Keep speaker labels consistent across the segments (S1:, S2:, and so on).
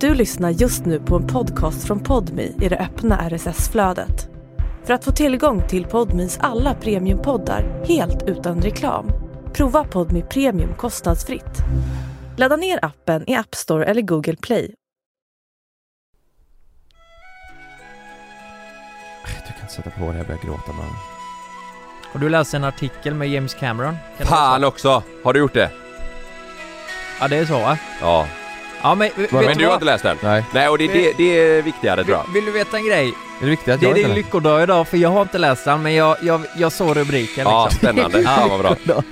S1: Du lyssnar just nu på en podcast från Podmi i det öppna RSS-flödet. För att få tillgång till Podmis alla premiumpoddar helt utan reklam, prova Podmi Premium kostnadsfritt. Ladda ner appen i App Store eller Google Play.
S2: Du kan sätta på det, jag börjar gråta man.
S3: Har du läst en artikel med James Cameron? Kan det
S2: Fan
S3: vara
S2: också! Har du gjort det?
S3: så? Ja, det är så va?
S2: Ja.
S3: Ja, men, vet
S2: Men du har inte läst den?
S4: Nej.
S2: Nej, och det, det, det är viktigare tror jag.
S3: Vill, vill du veta en grej?
S4: Är det viktigt att
S3: Det är
S4: jag
S3: din
S4: inte läser?
S3: lyckodag idag, för jag har inte läst den, men jag, jag, jag såg rubriken
S2: Ja,
S3: liksom.
S2: spännande. Fan vad bra.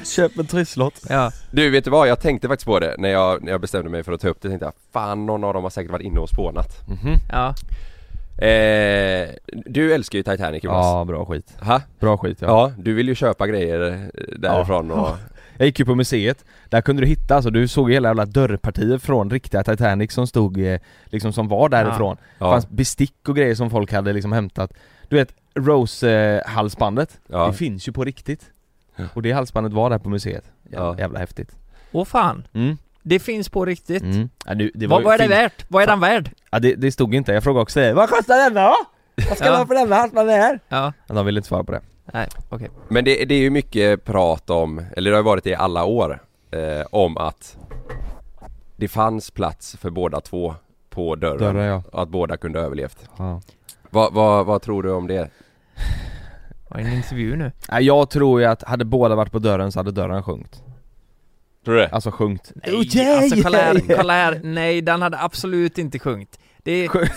S4: Köp en trisslott.
S3: Ja.
S2: Du, vet du vad? Jag tänkte faktiskt på det när jag, när jag bestämde mig för att ta upp det. tänkte jag, fan någon av dem har säkert varit inne och spånat.
S3: ja.
S2: Eh, du älskar ju Titanic Jonas.
S4: Ja, bra skit.
S2: Ja.
S4: Bra skit ja.
S2: ja, du vill ju köpa grejer eh, därifrån och...
S4: Jag gick ju på museet, där kunde du hitta, alltså du såg ju hela jävla dörrpartier från riktiga Titanic som stod, eh, liksom som var därifrån.
S2: Ja.
S4: fanns bestick och grejer som folk hade liksom hämtat. Du vet, Rose-halsbandet,
S2: Ja.
S4: det finns ju på riktigt. Och det halsbandet var där på museet. Jävla,
S2: Ja.
S4: jävla häftigt.
S3: Åh fan,
S4: Mm.
S3: det finns på riktigt.
S4: Mm. Ja, nu, det
S3: Vad,
S4: ju
S3: vad är det
S4: fin-
S3: värt? Vad är den värd?
S4: Ja, det, det stod inte, jag frågade också eh, Vad kostar denna då? Vad ska
S3: Ja.
S4: du ha för denna halsbandet här?
S3: Ja,
S4: Ja, De ville inte svara på det.
S3: nej, okej.
S2: Men det, det är ju mycket prat om, eller det har varit det i alla år, eh, om att det fanns plats för båda två på dörren.
S4: Dörren, ja.
S2: Och att båda kunde ha överlevt.
S4: Ja.
S2: Vad, vad, vad tror du om det?
S3: Var det en intervju nu?
S4: Nej, Jag tror ju att hade båda varit på dörren så hade dörren sjunkit.
S2: Tror du det?
S4: Alltså sjunkit.
S3: Nej,
S4: oh,
S3: alltså kolla här, kolla här. Nej, den hade absolut inte sjunkit. Det är...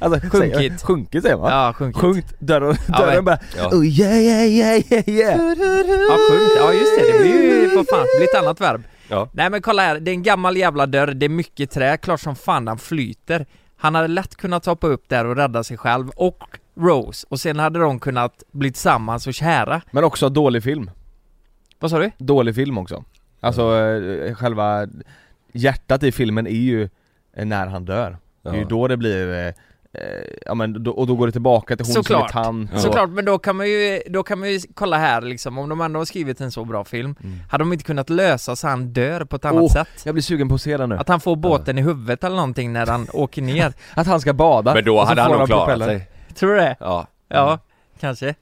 S4: Alltså,
S3: Sjunkit.
S4: säger- Sjunkit säger man.
S3: Ja, sjunkit.
S4: Sjunkit, dörren,
S3: Ja,
S4: dörren
S3: men-
S4: bara
S2: Ja.
S4: oh yeah yeah yeah yeah yeah
S3: Ja, sjunkit. Ja, just det. Det blir
S4: Mm.
S3: ju, vad fan, det blir ett annat verb.
S2: Ja.
S3: Nej men kolla här, det är en gammal jävla dörr, det är mycket trä, klart som fan den flyter. Han hade lätt kunnat hoppa upp där och rädda sig själv och Rose, och sen hade de kunnat bli tillsammans och kära.
S4: Men också dålig film,
S3: Vad sa du?
S4: dålig film också Alltså eh, själva hjärtat i filmen är ju eh, när han dör Det är ju
S2: Ja.
S4: då det blir, eh, eh, ja men då, och då går det tillbaka till hon
S3: Såklart.
S4: som är tant och-
S3: Såklart, men då kan man ju, då kan man ju kolla här liksom, om de ändå har skrivit en så bra film, hade de inte kunnat lösa så han dör på ett annat
S4: Åh,
S3: sätt?
S4: Jag blir sugen på att se den nu,
S3: Att
S4: att,
S3: han får båten i huvudet eller någonting när han åker ner?
S4: han ska bada
S2: Men då
S4: och så
S2: hade han
S4: får
S2: nog klarat
S4: propeller.
S2: sig.
S3: Tror du det?
S2: Ja. Mm.
S3: Ja, kanske.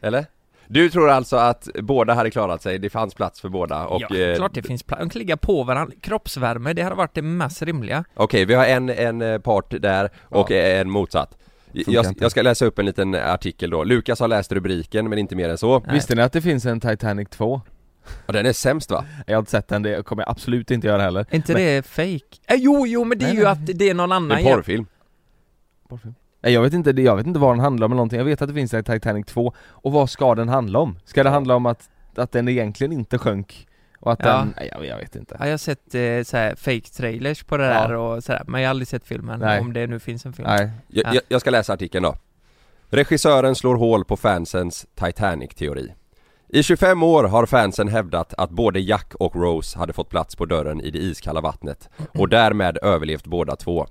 S2: Eller? Du tror alltså att båda hade klarat sig, det fanns plats för båda och...
S3: ja,
S2: eh,
S3: klart det finns plats. De kan ligga på varandra. Kroppsvärme, det hade varit det mest rimliga.
S2: Okej, vi har en, en eh, part där och eh,
S4: Ja.
S2: en motsatt. Jag,
S4: inte.
S2: jag ska läsa upp en liten artikel då. Lukas har läst rubriken men inte mer än så.
S4: Visste ni att det finns en Titanic 2?
S2: Och den är sämst va?
S4: Jag har inte sett den, det kommer jag absolut inte göra heller
S3: Är inte det fake? Äh, jo, jo, men det är
S4: Nej,
S3: ju
S4: nej.
S3: att det är någon
S2: Det är
S3: annan
S2: en porrfilm.
S4: Nej jag vet inte, det- jag vet inte vad den handlar om eller någonting, jag vet att det finns en Titanic 2 Och vad ska den handla om? Ska det handla om att, att den egentligen inte sjönk? Och att
S3: Ja.
S4: den, nej jag, jag vet inte
S3: Ja, jag har sett eh, så här fake trailers på det
S4: Ja.
S3: där och sådär, men jag har aldrig sett filmen,
S4: Nej.
S3: om det nu finns en film.
S4: Nej,
S2: Jag, jag, jag ska läsa artikeln då. Regissören slår hål på fansens Titanic-teori. I 25 år har fansen hävdat att både Jack och Rose hade fått plats på dörren i det iskalla vattnet och därmed överlevt båda två.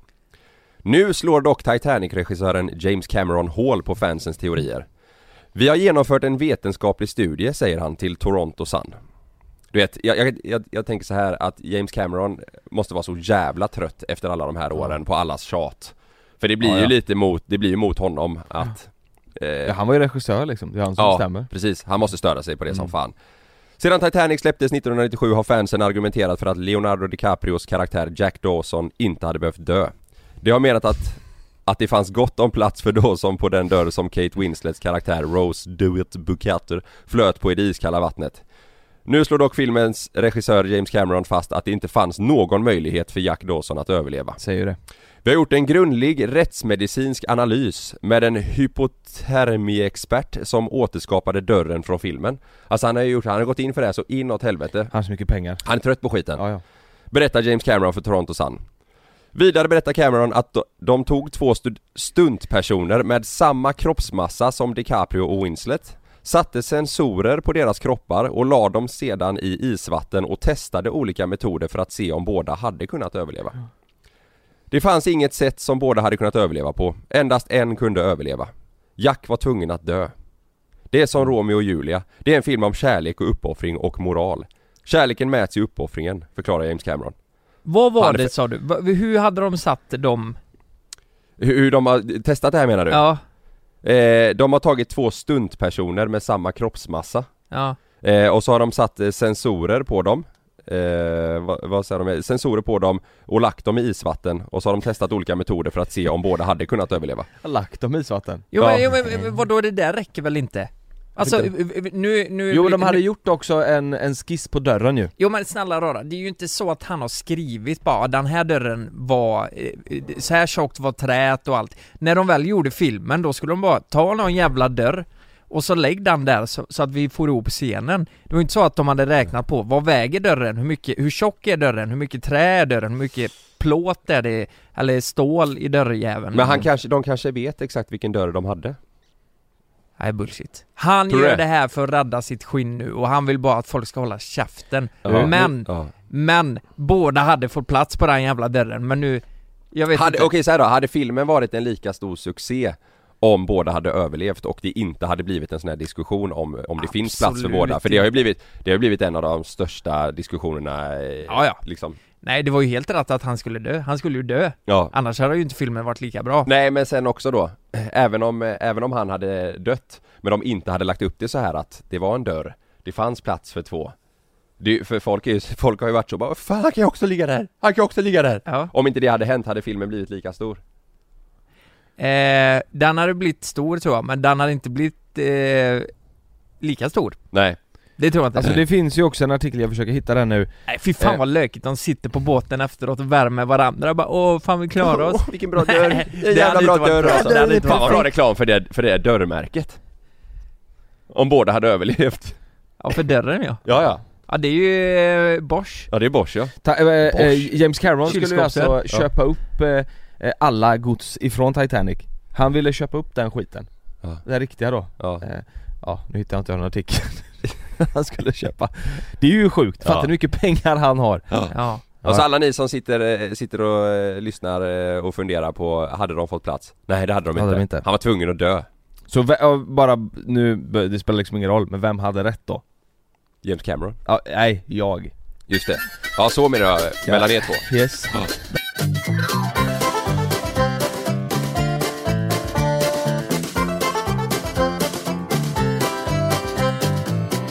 S2: Nu slår dock Titanic-regissören James Cameron hål på fansens teorier. Vi har genomfört en vetenskaplig studie, säger han till Toronto Sun. Du vet, jag, jag, jag, jag tänker så här att James Cameron måste vara så jävla trött efter alla de här åren på allas tjat. För det blir
S4: Ja,
S2: ju
S4: ja.
S2: lite mot, det blir ju mot honom att... eh,
S4: ja, han var ju regissör liksom, det är han som bestämmer
S2: precis. Han måste störa sig på det som fan. Sedan Titanic släpptes 1997 har fansen argumenterat för att Leonardo DiCaprios karaktär Jack Dawson inte hade behövt dö. De har menat att, att det fanns gott om plats för Dawson på den dörr som Kate Winslets karaktär Rose Dewitt Bucater flöt på i det iskalla vattnet. Nu slår dock filmens regissör James Cameron fast att det inte fanns någon möjlighet för Jack Dawson att överleva.
S4: Säger ju det
S2: Vi har gjort en grundlig rättsmedicinsk analys med en hypotermiexpert som återskapade dörren från filmen. Alltså han har ju gjort, han har gått in för det här så inåt helvete.
S4: Han har så mycket pengar
S2: Han är trött på skiten.
S4: Ja ja,
S2: Berättar James Cameron för Toronto Sun. Vidare berättar Cameron att de- de tog två stud- stuntpersoner med samma kroppsmassa som DiCaprio och Winslet, satte sensorer på deras kroppar och la dem sedan i isvatten och testade olika metoder för att se om båda hade kunnat överleva. Det fanns inget sätt som båda hade kunnat överleva på, endast en kunde överleva. Jack var tvungen att dö. Det är som Romeo och Julia, det är en film om kärlek och uppoffring och moral. Kärleken mäts i uppoffringen, förklarar James Cameron.
S3: Vad var
S2: Fan, det
S3: det
S2: för-
S3: sa du? Va- Hur hade de satt dem?
S2: Hur, hur de har testat det här menar du?
S3: Ja,
S2: Eh, de har tagit två stuntpersoner med samma kroppsmassa
S3: ja,
S2: eh, Och så har de satt eh, sensorer på dem eh, vad, vad säger de? Sensorer på dem och lagt dem i isvatten och så har de testat olika metoder för att se om båda hade kunnat överleva
S4: Jag har lagt dem i isvatten.
S3: jo,
S2: Ja.
S3: Men, jo men v- vadå det där räcker väl inte? Alltså nu, nu...
S4: Jo de hade
S3: nu,
S4: gjort också en, en skiss på dörren ju.
S3: Jo men snälla rara, det är ju inte så att han har skrivit bara "Ah, den här dörren var, eh, så här tjockt var träet och allt. När de väl gjorde filmen då skulle de bara ta någon jävla dörr och så lägg den där så, så att vi får ihop scenen. Det var ju inte så att de hade räknat på vad väger dörren, hur mycket, hur tjock är dörren, hur mycket trä är dörren, hur mycket plåt är det, eller stål i dörrjäveln.
S2: Men han kanske, de kanske vet exakt vilken dörr de hade
S3: Nej bullshit. Han
S2: Tror du
S3: gör
S2: det?
S3: det här för att rädda sitt skinn nu och han vill bara att folk ska hålla käften.
S2: Ja.
S3: Men,
S2: ja.
S3: men, båda hade fått plats på den jävla dörren men nu... Jag vet
S2: Hade,
S3: inte.
S2: okej så här då, hade filmen varit en lika stor succé om båda hade överlevt och det inte hade blivit en sån här diskussion om, om det finns plats för
S3: Absolut
S2: båda? För det har ju blivit, det har ju blivit en av de största diskussionerna eh,
S3: Ja, ja.
S2: liksom
S3: Nej det var ju helt rätt att han skulle dö, han skulle ju dö.
S2: Ja
S3: Annars hade ju inte filmen varit lika bra.
S2: Nej men sen också då, även om, eh, även om han hade dött Men de inte hade lagt upp det så här att det var en dörr Det fanns plats för två det, för folk, är, ju- folk har ju varit så bara Fan han kan ju också ligga där! Han kan ju också ligga där!
S3: Ja.
S2: Om inte det hade hänt hade filmen blivit lika stor
S3: Eh, den hade blivit stor tror jag, men den hade inte blivit eh, lika stor.
S2: Nej
S3: Det tror jag inte.
S4: Alltså det finns ju också en artikel, jag försöker hitta den nu.
S3: Nej fy fan
S4: eh.
S3: vad lökigt, de sitter på båten efteråt och värmer varandra bara åh fan vi klarar oss.
S2: Åh, vilken bra dörr!
S3: Nej,
S2: Det är en
S3: det
S2: jävla
S3: hade
S2: bra
S3: inte varit
S2: dörr
S3: bra.
S2: alltså.
S3: Det hade inte
S2: Fan vad
S3: varit
S2: bra
S3: bra.
S2: reklam för det, för det dörrmärket Om båda hade överlevt
S3: Ja för dörren ja.
S2: Ja ja,
S3: Ja det är ju eh, Bosch.
S2: ja det är Bosch ja
S4: Ta, eh, eh,
S2: Bosch.
S4: James Cameron skulle ju
S3: Kylskåpsdörr.
S4: alltså
S2: Ja.
S4: köpa upp eh, eh, alla gods ifrån Titanic. Han ville köpa upp den skiten.
S2: Ja.
S4: Den riktiga då.
S2: Ja,
S4: Ja, nu hittar jag inte den artikeln. han skulle köpa. Det är ju sjukt, fattar
S2: Ja.
S4: du hur mycket pengar han har?
S2: ja.
S3: Ja.
S2: Och så alla ni som sitter, eh, sitter och eh, lyssnar eh, och funderar på, hade de fått plats? Nej det hade de,
S4: Hade
S2: inte.
S4: de inte.
S2: Han var tvungen att dö,
S4: Så ve- ja, bara nu, det spelar liksom ingen roll, men vem hade rätt då?
S2: James Cameron.
S4: Ja, nej, jag.
S2: Just det. Ja så menar jag, eh, mellan er två.
S4: Yes.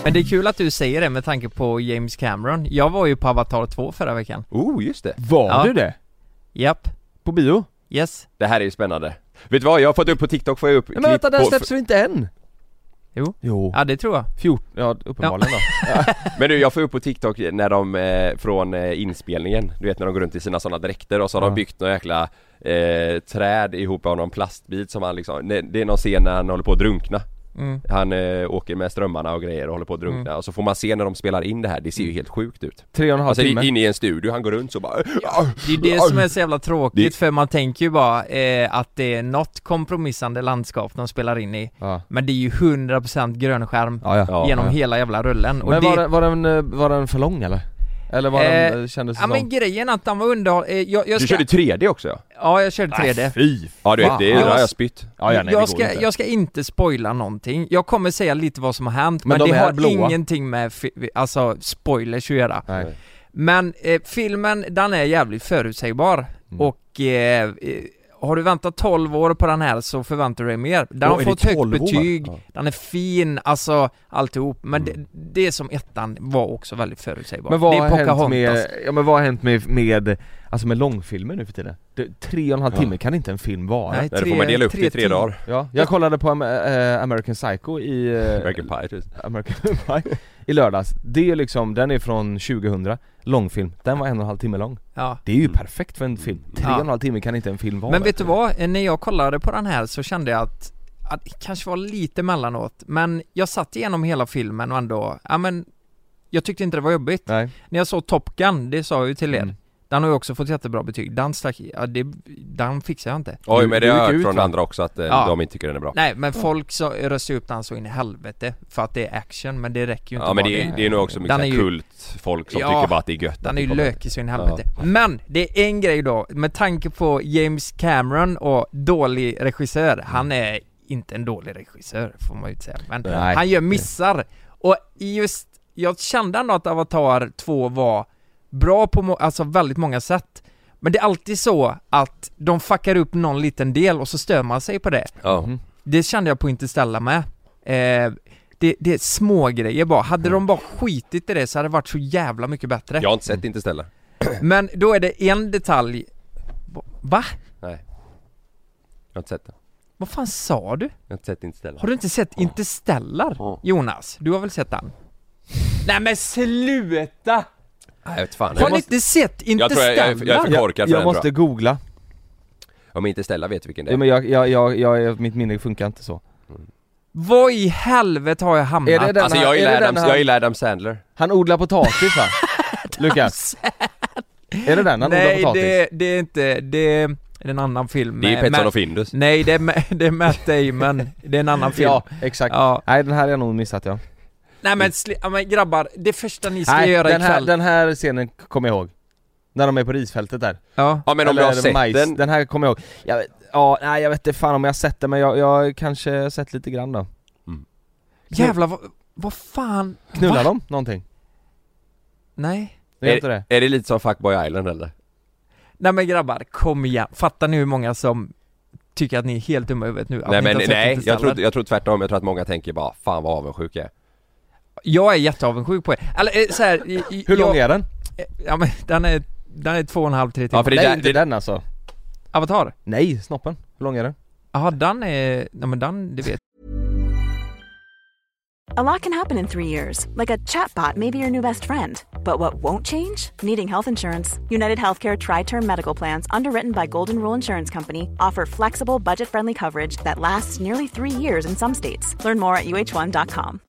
S3: Men det är kul att du säger det med tanke på James Cameron. Jag var ju på Avatar 2 förra veckan.
S2: Oh just det.
S4: Var
S3: Ja.
S4: du det?
S3: Japp.
S4: På bio?
S3: Yes.
S2: Det här är ju spännande. Vet du vad, jag har fått upp på TikTok, får jag upp
S4: Men vänta, den
S2: på...
S4: släpps väl inte än?
S3: Jo.
S4: Jo.
S3: Ja det tror jag.
S4: 14, ja uppenbarligen
S2: Men du, jag får upp på TikTok när de, eh, från eh, inspelningen, du vet när de går runt i sina sådana dräkter och så har
S4: Ja.
S2: de byggt några jäkla eh, träd ihop av någon plastbit som han liksom, nej, det är någon scen när han håller på att drunkna.
S3: Mm.
S2: Han eh, åker med strömmarna och grejer och håller på att drunkna och så får man se när de spelar in det här, det ser ju helt sjukt ut.
S4: då. Tre och en halv
S2: Alltså
S4: timme.
S2: i- inne i en studio, han går runt så bara
S3: Det är det som är så jävla tråkigt
S2: Det-
S3: för man tänker ju bara eh, att det är något kompromissande landskap de spelar in i.
S4: Ja,
S3: Men det är ju 100% grönskärm
S4: ja. ja.
S2: Ja,
S3: genom
S4: ja.
S3: hela jävla rullen. Och
S4: Men
S3: det...
S4: var, den, var, den, eh, var den för lång eller? Eller var den,
S3: Eh,
S4: eh, kändes det
S3: Ja men
S4: som?
S3: grejen att de var underhåll... Eh, jag, jag
S2: Du
S3: ska...
S2: körde 3D också ja?
S3: Ja jag körde 3D.
S4: fy
S2: Ja du vet,
S4: fan.
S2: det är, där har
S3: Jag-
S2: jag spytt
S4: Ja, ja, nej, det
S3: jag,
S4: går
S3: ska,
S4: inte.
S3: jag ska inte spoila någonting, jag kommer säga lite vad som har hänt
S4: Men
S3: men,
S4: de
S3: det
S4: är
S3: har
S4: blåa.
S3: ingenting med fi- alltså, spoilers att göra.
S4: Nej.
S3: Men eh, filmen, den är jävligt förutsägbar
S4: Mm.
S3: och eh, eh, har du väntat 12 år på den här så förväntar du dig mer. Den
S2: Åh,
S3: har
S2: är det
S3: fått högt
S2: 12 år?
S3: betyg,
S2: Ja.
S3: den är fin, alltså alltihop. Men
S2: Mm.
S3: det, det som ettan var också väldigt förutsägbart.
S4: Men vad
S3: det
S4: har
S3: är
S4: hänt
S3: Pocahontas.
S4: med, ja, men vad har hänt med, med, alltså med långfilmer nu för tiden? Det, tre och en halv
S2: Ja.
S4: timme kan inte en film vara?
S3: Nej,
S2: Där får man dela upp det i tre
S3: tim-
S2: dagar
S4: Ja, jag kollade på Am- eh, American Psycho i... eh,
S2: American Pie just.
S4: American Pie I lördags, det är liksom, den är från 2000, långfilm, den var en och en halv timme lång
S3: Ja.
S4: Det är ju
S2: Mm.
S4: perfekt för en film, tre
S3: Ja.
S4: och en halv timme kan inte en film vara
S3: Men vet du vad? Eh, När jag kollade på den här så kände jag att, att det kanske var lite mellanåt, men jag satt igenom hela filmen och ändå, ja men jag tyckte inte det var jobbigt.
S4: Nej,
S3: När jag såg Top Gun, det sa jag ju till er,
S4: Mm.
S3: den har ju också fått jättebra betyg, den stack, ja, det, den fixar jag inte.
S2: Oj
S4: Du-
S2: men det
S4: du
S2: har jag
S4: gick
S2: hört
S4: ut,
S2: från
S4: va?
S2: andra också att eh,
S3: Ja.
S2: de inte tycker den är bra
S3: Nej men folk så röstar ju upp den så in i helvete för att det är action, men det räcker ju inte
S2: Ja men
S3: bara
S2: det
S4: det.
S2: är, det är nog också mycket
S3: Den
S2: så här
S3: är ju-
S2: kult folk som
S3: Ja,
S2: tycker bara att det är gött att
S3: Den
S2: det
S3: är ju
S2: kommer.
S3: lökig så in i helvete. Men det är en grej då, med tanke på James Cameron och dålig regissör,
S2: Mm.
S3: han är inte en dålig regissör får man ju inte säga, men
S4: Nej.
S3: han gör missar. Och i just, jag kände ändå att Avatar 2 var bra på må- alltså väldigt många sätt. Men det är alltid så att de fuckar upp någon liten del och så stör man sig på det.
S2: Ja.
S4: Mhm.
S3: Det kände jag på Interstellar med. Eh, det, det är små grejer bara. Hade
S2: Mm.
S3: de bara skitit i det så hade det varit så jävla mycket bättre.
S2: Jag har inte sett Interstellar.
S3: Men då är det en detalj. Va?
S2: Jag har inte sett det.
S3: Vad fan sa du?
S2: Jag har inte sett Interstellar.
S3: Har du inte sett Interstellar? Jonas, du har väl sett den? Nej men sluta!
S2: Nej, jag vet fan.
S3: Har
S2: Jag,
S3: ni
S2: måste,
S3: inte sett
S2: jag tror jag, jag, är- jag är
S3: Interstellar?
S2: för korkad för
S4: jag
S2: den tror
S4: måste googla.
S2: jag. Om Interstellar vet du vilken det
S4: Ja,
S2: är.
S4: men jag, jag, jag, jag, jag, mitt minne funkar inte så.
S3: Vad i helvete har jag hamnat?
S4: Är det den
S2: Alltså
S4: han-
S2: jag
S4: är
S2: gillar
S4: det den
S2: Adam,
S4: han-
S2: jag gillar Adam Sandler.
S4: Han odlar potatis va? Lukas? Är det den han
S3: Nej
S4: odlar potatis?
S3: det, det är inte, det är en annan film
S2: Det är
S3: Eh,
S2: Petson
S3: Ma-
S2: och Findus.
S3: Nej det är, Ma- det är Matt Damon, det är en annan film
S4: Ja, exakt.
S3: Ja.
S4: Nej den här har jag nog missat ja.
S3: Nej men, sli- ja, men grabbar, det första ni ska
S4: Nej,
S3: göra
S4: den, här,
S3: ikväll
S4: den här scenen kommer jag ihåg. När de är på risfältet där.
S3: Ja,
S2: Ja men om
S4: Eller
S2: du har sett
S4: majs.
S2: den.
S4: här kommer jag ihåg. Jag vet, ja, nej jag vet inte fan om jag har sett den men jag, jag kanske har sett lite grann då.
S3: jävlar vad, vad fan
S4: Knullar
S3: Va?
S4: de någonting?
S3: Nej
S4: Det
S2: Eh,
S4: är inte det?
S2: Är det lite som Fuckboy Island eller?
S3: Nej men grabbar, kom igen, fattar ni hur många som tycker att ni är helt dumma i huvudet nu? Att
S2: nej
S3: ni inte
S2: men
S3: har sett
S2: nej, jag
S3: Interstellar?
S2: tror, jag tror tvärtom. Jag tror att många tänker bara fan vad avundsjuk jag är.
S3: Jag är jätteavundsjuk på er, eller eh, så här, i- i-
S4: Hur lång
S3: jag, eh,
S4: är den?
S3: Ja men den är, den är två och en halv, tre timmar
S2: Ja, för det
S4: nej
S2: där-
S4: inte
S2: det-
S4: den alltså.
S3: Avatar?
S4: Nej, snoppen. Hur lång är den?
S3: Jaha, den är, nej men den, det vet
S5: A lot can happen in three years, like a chatbot may be your new best friend. But what won't change? Needing health insurance. United Healthcare Tri Term Medical Plans, underwritten by Golden Rule Insurance Company, offer flexible, budget friendly coverage that lasts nearly three years in some states. Learn more at uh1.com.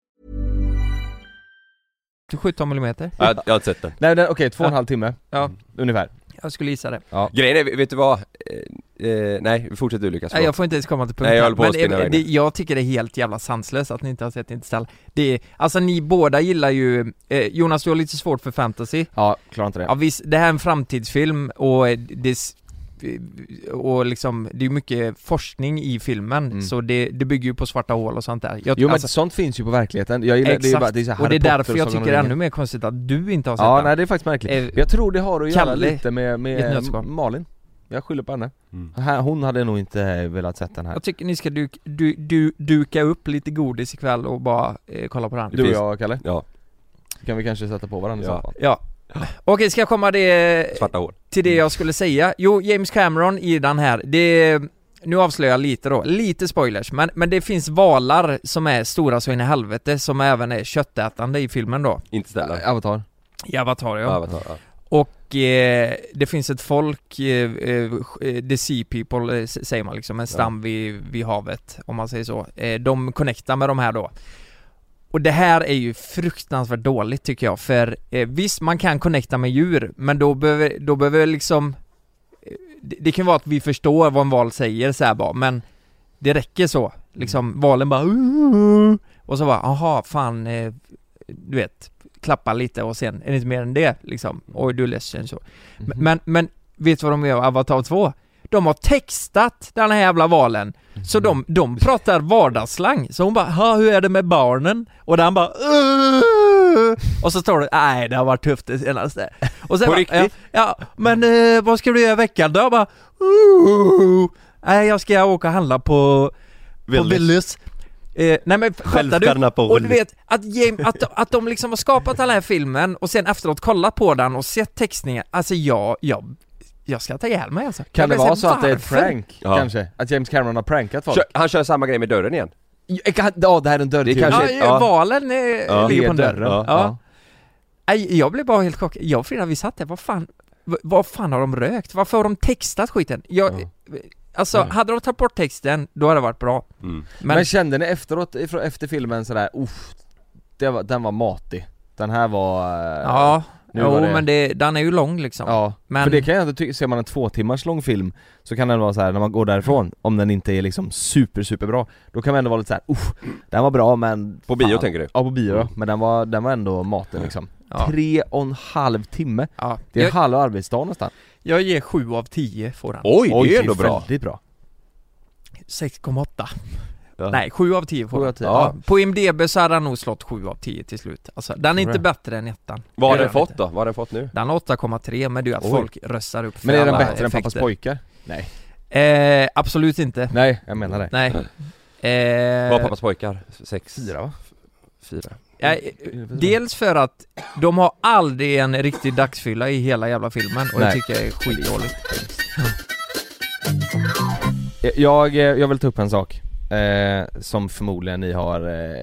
S3: 17 millimeter.
S2: Ja, Jag, jag har inte sett den.
S4: Nej den, okej, två och en halv timme.
S3: Ja.
S2: Mm.
S4: Ungefär.
S3: Jag skulle gissa det.
S2: Grejen är, vet du vad? Eh, eh, nej, fortsätt du Lukas.
S3: Nej,
S2: förlåt.
S3: jag får inte ens komma
S2: Nej,
S3: till punkten.
S2: jag håller på att spinna
S3: men eh,
S2: iväg
S3: det,
S2: nu.
S3: jag tycker det är helt jävla sanslöst att ni inte har sett Interstellar. Det är, alltså ni båda gillar ju, eh, Jonas du har lite svårt för fantasy.
S4: Ja, klarar inte det.
S3: Ja visst, det här är en framtidsfilm och eh, det, s- och liksom, det är mycket forskning i filmen
S4: Mm.
S3: så det, det bygger ju på svarta hål och sånt där. Jag,
S4: Jo men
S3: alltså,
S4: sånt finns ju på verkligheten. Jag gillar det är ju
S3: exakt.
S4: bara det är så här
S3: och det är
S4: Harry Potter
S3: därför jag
S4: och Sagan
S3: tycker det
S4: om
S3: är
S4: ringen.
S3: ännu mer konstigt att du inte har sett
S4: Ja
S3: den.
S4: nej det är faktiskt märkligt.
S3: Alltså, Eh,
S4: Jag tror det har att göra
S3: Kalle
S4: lite med,
S3: i ett
S4: med
S3: nötskal.
S4: Malin. Jag skyller på henne.
S2: Mm.
S4: Här- Hon hade nog inte eh, velat sett den här.
S3: Jag tycker ni ska duk, du, du, duka upp lite godis ikväll och bara eh, kolla på den.
S4: Du och
S2: finns-
S4: jag Kalle,
S2: Ja,
S4: kan vi kanske sätta på varandra i
S2: Ja.
S4: så fall?
S3: Ja. Okej, ska jag komma det,
S2: svarta hål.
S3: till det jag skulle säga? Jo, James Cameron i den här, det... Nu avslöjar jag lite då, lite spoilers, men, men det finns valar som är stora så in i helvete som även är köttätande i filmen då.
S2: Inte ställa.
S4: Avatar.
S3: I Avatar ja.
S2: Avatar, ja.
S3: Och eh, det finns ett folk, eh, eh, eh, the sea people eh, s- säger man liksom, en stam vid, vid havet om man säger så. Eh, de connectar med de här då. Och det här är ju fruktansvärt dåligt tycker jag för eh, visst man kan connecta med djur men då behöver, då behöver liksom eh, det, det kan vara att vi förstår vad en val säger så här bara men det räcker så. Liksom valen bara "Uh", och så bara aha fan eh, du vet klappa lite och sen är det inte mer än det liksom.
S2: Mm.
S3: Oj du är ledsen så.
S4: Mhm.
S2: Mm-hmm.
S3: Men, men, men vet du vad de gör i Avatar 2? De har textat den här jävla valen. Så
S2: Mm-hmm.
S3: de, de pratar vardagsslang. Så hon bara "Ha, hur är det med barnen?” och den bara "Åh." Och så står det “Nej det har varit tufft det senaste”. Och sen
S2: På
S3: bara,
S2: riktigt?
S3: Ja, ja men eh, vad ska du göra i veckan då? Jag bara "Åh." “Nej jag ska åka och handla på på Willys. Eh, nej men fattar du?
S2: Självstjärna på
S3: och du
S2: Willys.
S3: vet att, James, att, de- att de liksom har skapat den här filmen och sen efteråt kollat på den och sett textningen, alltså jag, jag, jag ska ta ihjäl mig alltså.
S4: Kan
S3: jag
S4: det
S3: vill
S4: vara så
S3: säga,
S4: att det är ett
S3: varför?
S4: prank,
S2: Ja.
S4: kanske? Att James Cameron har prankat folk?
S2: Kör, han kör samma grej med dörren igen.
S4: Jag kan- Ja, det här är en dörr
S2: Det
S4: till.
S2: kanske-
S3: Ja,
S2: Shit, ja.
S3: valen eh,
S2: Ja.
S3: ligger på en
S4: Alltså,
S3: dörr.
S4: Ner dörren.
S2: Ja.
S3: Ja. Nej, jag blev bara helt chockad. Jag och Frida vi satt där, vad fan, v- vad fan har de rökt? Varför har de textat skiten? Jag, Alltså, hade de tagit bort texten, då hade det varit bra.
S2: Mm.
S4: Men... kände ni efteråt, ifrån- efter filmen sådär, uff, det var, den var matig. Den här var... eh,
S3: ja,
S4: nu
S3: jo
S4: var det-
S3: men det, den är ju lång liksom.
S4: Ja,
S3: Men-
S4: för det kan jag inte tycka, ser man en två timmars lång film så kan den vara så här när man går därifrån, om den inte är liksom super super bra Då kan man ändå vara lite så här, uff, den var bra men...
S2: På bio
S4: fan."
S2: tänker du? Mm.
S4: Ja på bio ja, men den var, den var ändå matig liksom
S3: Ja.
S4: Tre och en halv timme,
S3: Ja.
S4: det är
S3: Jag-
S4: halva arbetsdagen nästan
S3: Jag ger 7 av 10 får den.
S2: Oj, det är ändå
S4: väldigt
S2: bra.
S4: Väldigt bra
S3: 6,8.
S4: Ja.
S3: Nej, 7 av 10 får
S4: Sju av
S3: den.
S4: tio.
S3: Ja. På IMDB så hade han nog slått 7 av 10 till slut alltså, den är inte
S4: Right.
S3: bättre än ettan
S2: Vad har
S3: Det är
S2: den fått då? Vad har den fått
S4: Eh,
S2: nu?
S3: Den har 8,3 men det är ju att
S2: Oj.
S3: folk röstar upp för
S4: Men är den
S3: alla
S4: bättre än
S3: effekter.
S4: Pappas pojkar? Nej
S3: Eh, absolut inte
S4: Nej, jag menar det
S3: Nej eh,
S2: Vad har pappas pojkar? Sex?
S4: Fyra va?
S2: Fyra?
S3: ja, eh, Dels för att de har aldrig en riktig dagsfylla i hela jävla filmen och det
S4: Nej.
S3: tycker jag är skitdåligt
S4: Jag, eh, jag vill ta upp en sak eh, Som förmodligen ni har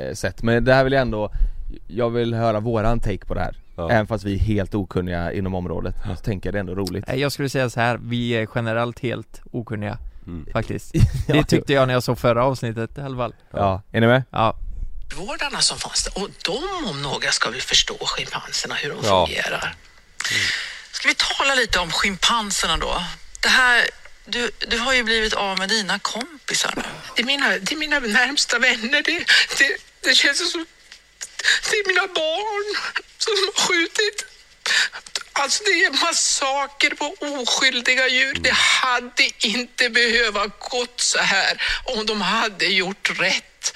S4: eh, sett, men det här vill jag ändå Jag vill höra våran take på det här
S2: Ja.
S4: Även fast vi är helt okunniga inom området Så tänker jag det är ändå roligt
S3: Nej, Jag skulle säga så här, vi är generellt helt okunniga
S2: Mm.
S3: faktiskt
S4: Ja.
S3: Det tyckte jag när jag såg förra avsnittet i alla fall
S4: Ja, är ni med?
S3: Ja,
S6: vårdarna som fanns där. Och de om några ska väl förstå schimpanserna, hur de
S2: Ja.
S6: fungerar. Ska vi tala lite om schimpanserna då? Det här, du, du har ju blivit av med dina kompisar nu.
S7: Det är mina, det är mina närmsta vänner. Det, det, det känns som... Det är mina barn som har skjutit. Alltså det är massaker på oskyldiga djur. Det hade inte behöva gått så här om de hade gjort rätt.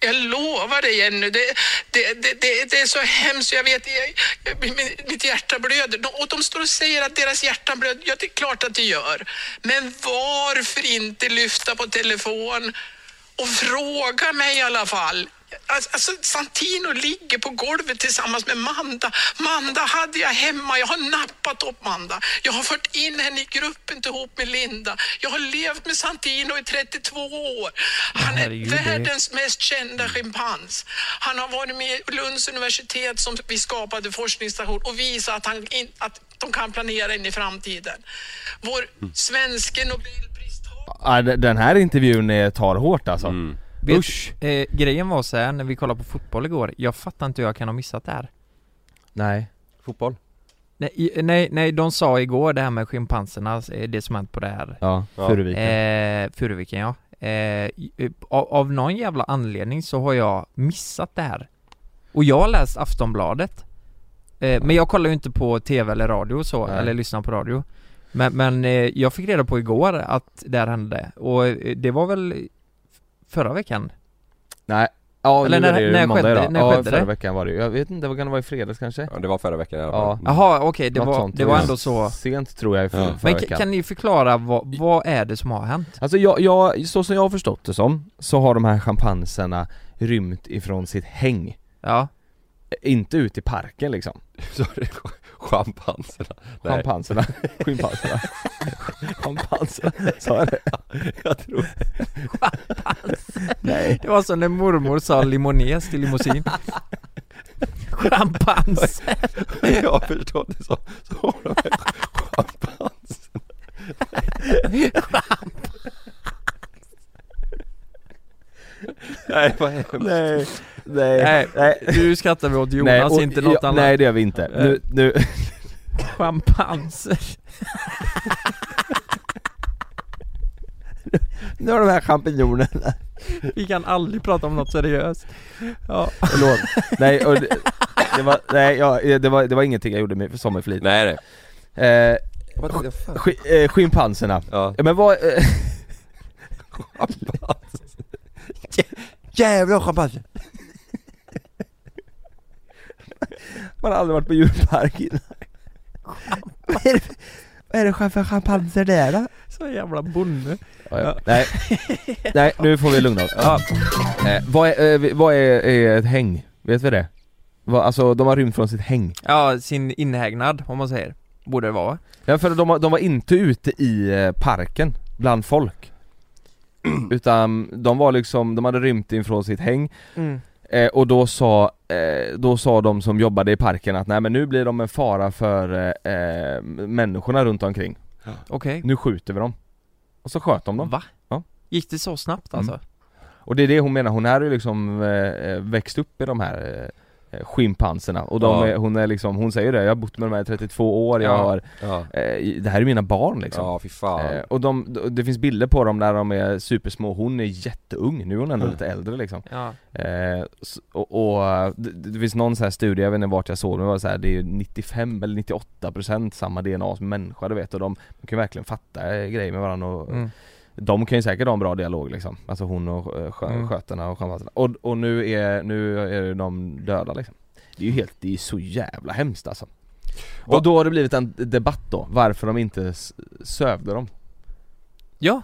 S7: Jag lovar dig Jenny, det, det, det, det, det är så hemskt. Jag vet, jag, jag, min- mitt hjärta blöder. De, och de står och säger att deras hjärtan blöder. Ja, det är klart att det gör. Men varför inte lyfta på telefon och fråga mig i alla fall. Alltså, alltså, Santino ligger på golvet tillsammans med Manda. Manda hade jag hemma. Jag har nappat upp Manda. Jag har fört in henne i gruppen ihop med Linda. Jag har levt med Santino i 32 år. Han är
S3: Herregud, det är-
S7: världens mest kända schimpans. Han har varit med i Lunds universitet som vi skapade forskningsstation och visat att, han in, att de kan planera in i framtiden. Vår svenske nobelpristagare
S4: Ja, d- den här intervjun är, tar hårt alltså
S2: Mm.
S3: Vet-
S4: Usch!
S3: eh, grejen var så här när vi kollade på fotboll igår, jag fattar inte hur jag kan ha missat det här
S4: Nej
S2: Fotboll?
S3: Nej, i- nej, nej, de sa igår det här med schimpanserna, eh, det som hänt på det här
S4: Ja,
S2: Ja.
S4: Furuviken
S3: eh, Furuviken ja eh, i- i- av, av någon jävla anledning så har jag missat det här Och jag har läst Aftonbladet eh, Men jag kollar ju inte på TV eller radio och så,
S4: Nej.
S3: eller lyssnar på radio Men, men eh, jag fick reda på igår att det här hände och eh, det var väl förra veckan?
S4: Mm. Nej Ja,
S3: Eller
S4: nu
S3: när-
S4: är det ju
S3: när
S4: måndag
S3: skedde-
S4: idag.
S3: när
S4: ja,
S3: skedde
S4: förra
S3: det?
S4: veckan var det ju. Jag vet inte, vad kan det vara i fredags kanske?
S2: Ja, det var förra veckan i alla
S4: Ja.
S2: fall. Mm.
S3: Jaha okej, det,
S4: Något
S3: var,
S4: sånt.
S3: det var ändå så
S4: Sent tror jag i för,
S2: Ja.
S4: förra
S3: Men
S4: veckan
S3: kan, kan ni förklara vad, vad är det som har hänt?
S4: Alltså jag, jag, så som jag har förstått det som, så har de här schimpanserna rymt ifrån sitt häng
S3: Ja
S4: Eh, Inte ut i parken liksom,
S2: Så det är Schimpanserna? Nej,
S4: schimpanserna, schimpanserna Schimpanserna, sa jag det?
S2: jag tror
S4: Nej
S3: Det var som när mormor sa limones till limousin Champans!
S2: Jag förstår det som, så har de här schimpanserna Nej vad hemskt
S4: Nej, nej,
S3: Nej, nu skrattar vi åt Jonas,
S4: och-
S3: inte något
S4: ja,
S3: annat
S4: Nej det gör vi inte, nu, nu
S3: Champans!
S4: Nu har de här champinjonerna,
S3: Vi kan aldrig prata om något seriöst Ja,
S4: förlåt Nej, och det, det var, nej jag, det, var, det var ingenting jag gjorde med, som med flit
S2: Nej nej
S4: eh,
S2: Vad tänkte jag fan?
S4: sk, eh, Schimpanserna,
S2: Ja,
S4: Ja, men vad, eh,
S2: schimpanser Jävla schimpanser!
S4: man har aldrig varit på djurpark innan Vad är det för- Vad är det för schimpanser det är då?
S3: så jävla bonde
S4: Ja, ja. Nej. Nej, nu får vi lugna oss.
S3: Ja.
S4: Eh, vad är, eh, vad är, är ett häng? Vet vi det? Vad, alltså de har rymt från sitt häng.
S3: Ja, sin inhägnad om man säger, borde det vara
S4: Ja för de, har- de var inte ute i eh, parken, bland folk. Utan de var liksom, de hade rymt ifrån sitt häng eh, och då sa, eh, då sa de som jobbade i parken att nej men nu blir de en fara för eh, eh, människorna runt omkring.
S3: Okej,
S4: Nu skjuter vi dem. Och så sköt de dem.
S3: va?
S4: Mm. Ja. Mm.
S3: Gick det så snabbt alltså?
S4: Och det är det hon menar, hon här är ju liksom eh, eh, växt upp i de här eh, schimpanserna och de
S2: Ja.
S4: är, hon är liksom, hon säger det, jag har bott med de här i 32 år, jag
S3: Ja.
S4: har,
S2: Ja,
S4: eh, i- det här är mina barn liksom
S2: ja fy fan
S4: eh, Och de, d- det finns bilder på dem där de är supersmå, hon är jätteung, nu är hon ändå lite äldre liksom
S3: Ja,
S4: eh, s- Och, och eh, det, det finns någon så här studie, jag vet inte vart jag såg, men det var så här, det är ju 95 eller 98% samma DNA som människa du vet och de, de kan verkligen fatta eh, grejer med varandra och
S3: mm.
S4: De kan ju säkert ha en bra dialog liksom, alltså hon och eh, skö,
S3: Mm.
S4: skötarna och sjömansarna. Och, och nu är, nu är de döda liksom. Det är ju helt, det är ju så jävla hemskt alltså.
S2: Va-
S4: Och då har det blivit en debatt då, varför de inte s- sövde dem.
S3: Ja,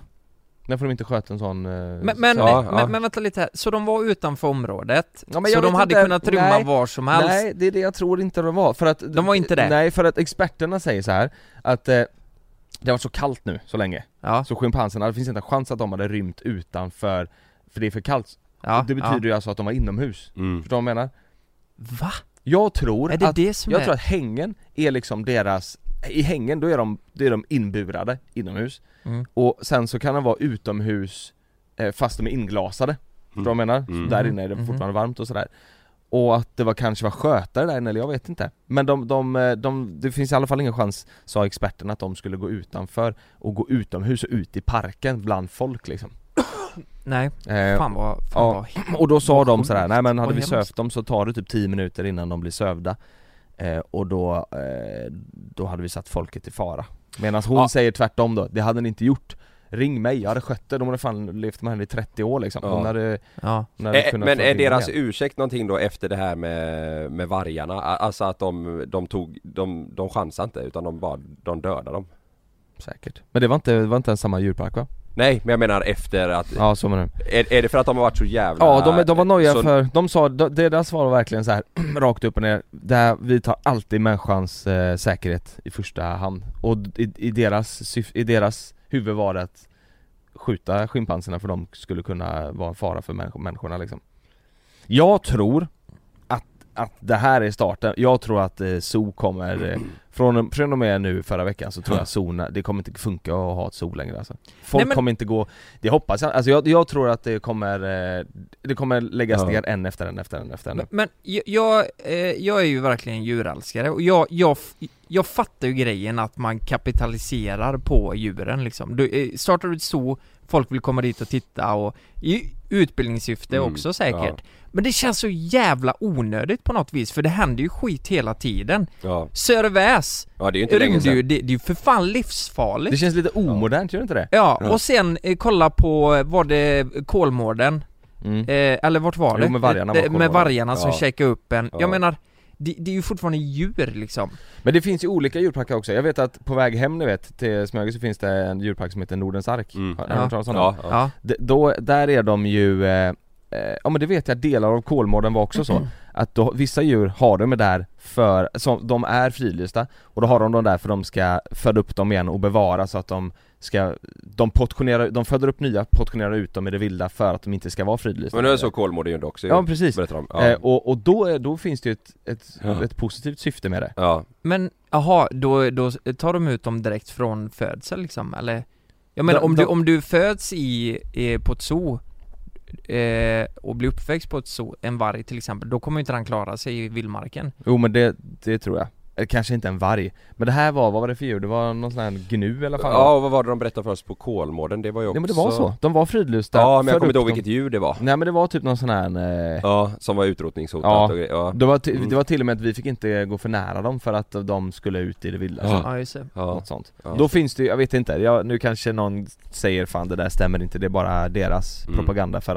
S4: Varför de inte sköt en sån... eh,
S3: men, men,
S2: Ja, ja.
S3: men, men vänta lite här. Så de var utanför området?
S4: Ja, men
S3: så
S4: jag
S3: de
S4: vet
S3: hade
S4: inte.
S3: kunnat rymma
S4: Nej.
S3: var som helst?
S4: Nej, det är det jag tror inte de var. För att,
S3: De var inte det?
S4: Nej, för att experterna säger så här att eh, det har varit så kallt nu så länge,
S3: Ja,
S4: så schimpanserna, det finns inte en chans att de hade rymt utanför, för det är för kallt.
S3: ja,
S4: det betyder
S3: ja.
S4: ju alltså att de var inomhus.
S2: Mm.
S4: Förstår du vad jag menar?
S3: Va?
S4: Jag tror
S3: Är det
S4: att,
S3: det som
S4: jag
S3: är...
S4: tror att hängen är liksom deras, i hängen då är de, då är de inburade inomhus,
S3: Mm.
S4: och sen så kan de vara utomhus eh, fast de är inglasade. Förstår du vad jag menar? Så
S2: Mm.
S4: Där inne är det
S3: Mhm.
S4: fortfarande varmt och sådär. Och att det var kanske var skötare där inne, eller jag vet inte. Men de, de, eh, de, det finns i alla fall ingen chans, sa experterna, att de skulle gå utanför och gå utomhus och ut i parken bland folk liksom.
S3: Nej,
S4: Eh,
S3: fan vad... Fan
S4: ja.
S3: vad...
S4: och då sa
S3: Vad
S4: de
S3: sjukt.
S4: sådär, nej men hade
S3: Vad
S4: vi
S3: hemskt.
S4: sövt dem så tar det typ 10 minuter innan de blir sövda eh, Och då, eh, då hade vi satt folket i fara Medan hon
S2: Ja.
S4: säger tvärtom då, det hade ni inte gjort Ring mig, jag hade skött er, de hade fan levt med henne i 30 år liksom
S2: Ja.
S4: hon hade,
S3: Ja.
S4: hon hade
S2: Eh,
S4: kunnat
S2: men
S4: få
S2: är
S4: ringa
S2: deras
S4: igen.
S2: ursäkt någonting då efter det här med, med vargarna? A- Alltså att de, de tog, de, de chansade inte utan de bara, de dödade dem
S4: Säkert Men det var inte, det var inte ens samma djurpark va?
S2: Nej men jag menar efter att,
S4: Ja så menar du
S2: är, är det för att de har varit så jävla
S4: Ja de, de var nojiga
S2: så,
S4: för, de sa, de, deras svar var verkligen så här rakt upp och ner där Vi tar alltid människans eh, säkerhet i första hand Och i, i, deras, syf- i deras huvud var det att skjuta schimpanserna för de skulle kunna vara en fara för människ- människorna liksom Jag tror att, att det här är starten, jag tror att eh, zoo kommer eh, från, från och med nu förra veckan så tror jag zoona, det kommer inte funka att ha ett zoo längre alltså. Folk
S3: Nej, men-
S4: kommer inte gå, det hoppas jag, alltså jag, jag tror att det kommer, eh, det kommer läggas
S2: Ja.
S4: ner en efter en efter en efter en
S3: Men, men jag- jag, eh, jag är ju verkligen djurälskare och jag, jag, f- jag fattar ju grejen att man kapitaliserar på djuren liksom. Du, eh, startar du ett zoo, folk vill komma dit och titta och i utbildningssyfte
S2: Mm,
S3: också säkert. Men det känns så jävla onödigt på något vis för det händer ju skit hela tiden.
S2: ja.
S3: Sörväs
S2: ja det är ju inte länge
S3: rymde ju,
S2: sedan
S3: det, det är ju för fan livsfarligt.
S4: Det känns lite omodernt, gör det inte det?
S3: Ja,
S2: Ja.
S3: och sen eh, kolla på, var det Kolmården?
S4: Mm.
S3: Eh, eller vart var
S4: Jo,
S3: det?
S4: men vargarna var
S3: Eh, med
S4: Kolmården.
S3: vargarna som
S2: Ja.
S3: käkade upp en.
S2: Ja.
S3: Jag menar, det, det är ju fortfarande djur liksom.
S4: Men det finns ju olika djurparker också, jag vet att på väg hem ni vet, till Smögen så finns det en djurpark som heter Nordens Ark
S2: Mm.
S4: Har har du hört talas om den?
S2: ja,
S3: Ja.
S2: ja.
S4: D- då, där är de ju, eh, eh, ja men det vet jag, delar av Kolmården var också så Att då, vissa djur har de där för, som, de är fridlysta och då har de dem där för de ska föda upp dem igen och bevara så att de ska, de portionerar, de föder upp nya, portionerar ut dem i det vilda för att de inte ska vara fridlysta
S2: Men nu är så Kolmården gjorde också ju.
S4: Ja men precis,
S2: berättar de
S4: eh,
S2: ja.
S4: och, och då, är, då finns det ju ett, ett,
S2: Ja.
S4: ett positivt syfte med det
S2: ja,
S3: Men, jaha, då, då tar de ut dem direkt från födsel liksom, eller? Jag menar
S4: De-
S3: om, du,
S4: de-
S3: om du föds i, eh, på ett zoo eh, och blir uppväxt på ett zoo, en varg till exempel, då kommer ju inte den klara sig i vildmarken.
S4: Jo men det, det tror jag Eller kanske inte en varg, men det här var, vad var det för djur? Det var någon sån här gnu i alla fall
S2: ja och vad var det de berättade för oss på Kolmården? Det var ju också
S4: Ja men det var så, de var fridlysta
S2: Ja men jag
S4: födde
S2: kommer inte
S4: upp
S2: ihåg
S4: dem.
S2: vilket djur det var
S4: Nej men det var typ någon sån här, eh,
S2: Ja, som var utrotningshotat
S4: Ja.
S2: och gre- ja.
S4: det, var ti-
S2: Mm.
S4: det var till och med att vi fick inte gå för nära dem för att de skulle ut i det vilda
S2: Ja.
S4: så,
S3: Ja, just det.
S2: ja.
S4: Något sånt.
S2: Ja.
S4: Då finns det ju, jag vet inte, jag, nu kanske någon säger fan det där stämmer inte, det är bara deras
S2: Mm.
S4: propaganda för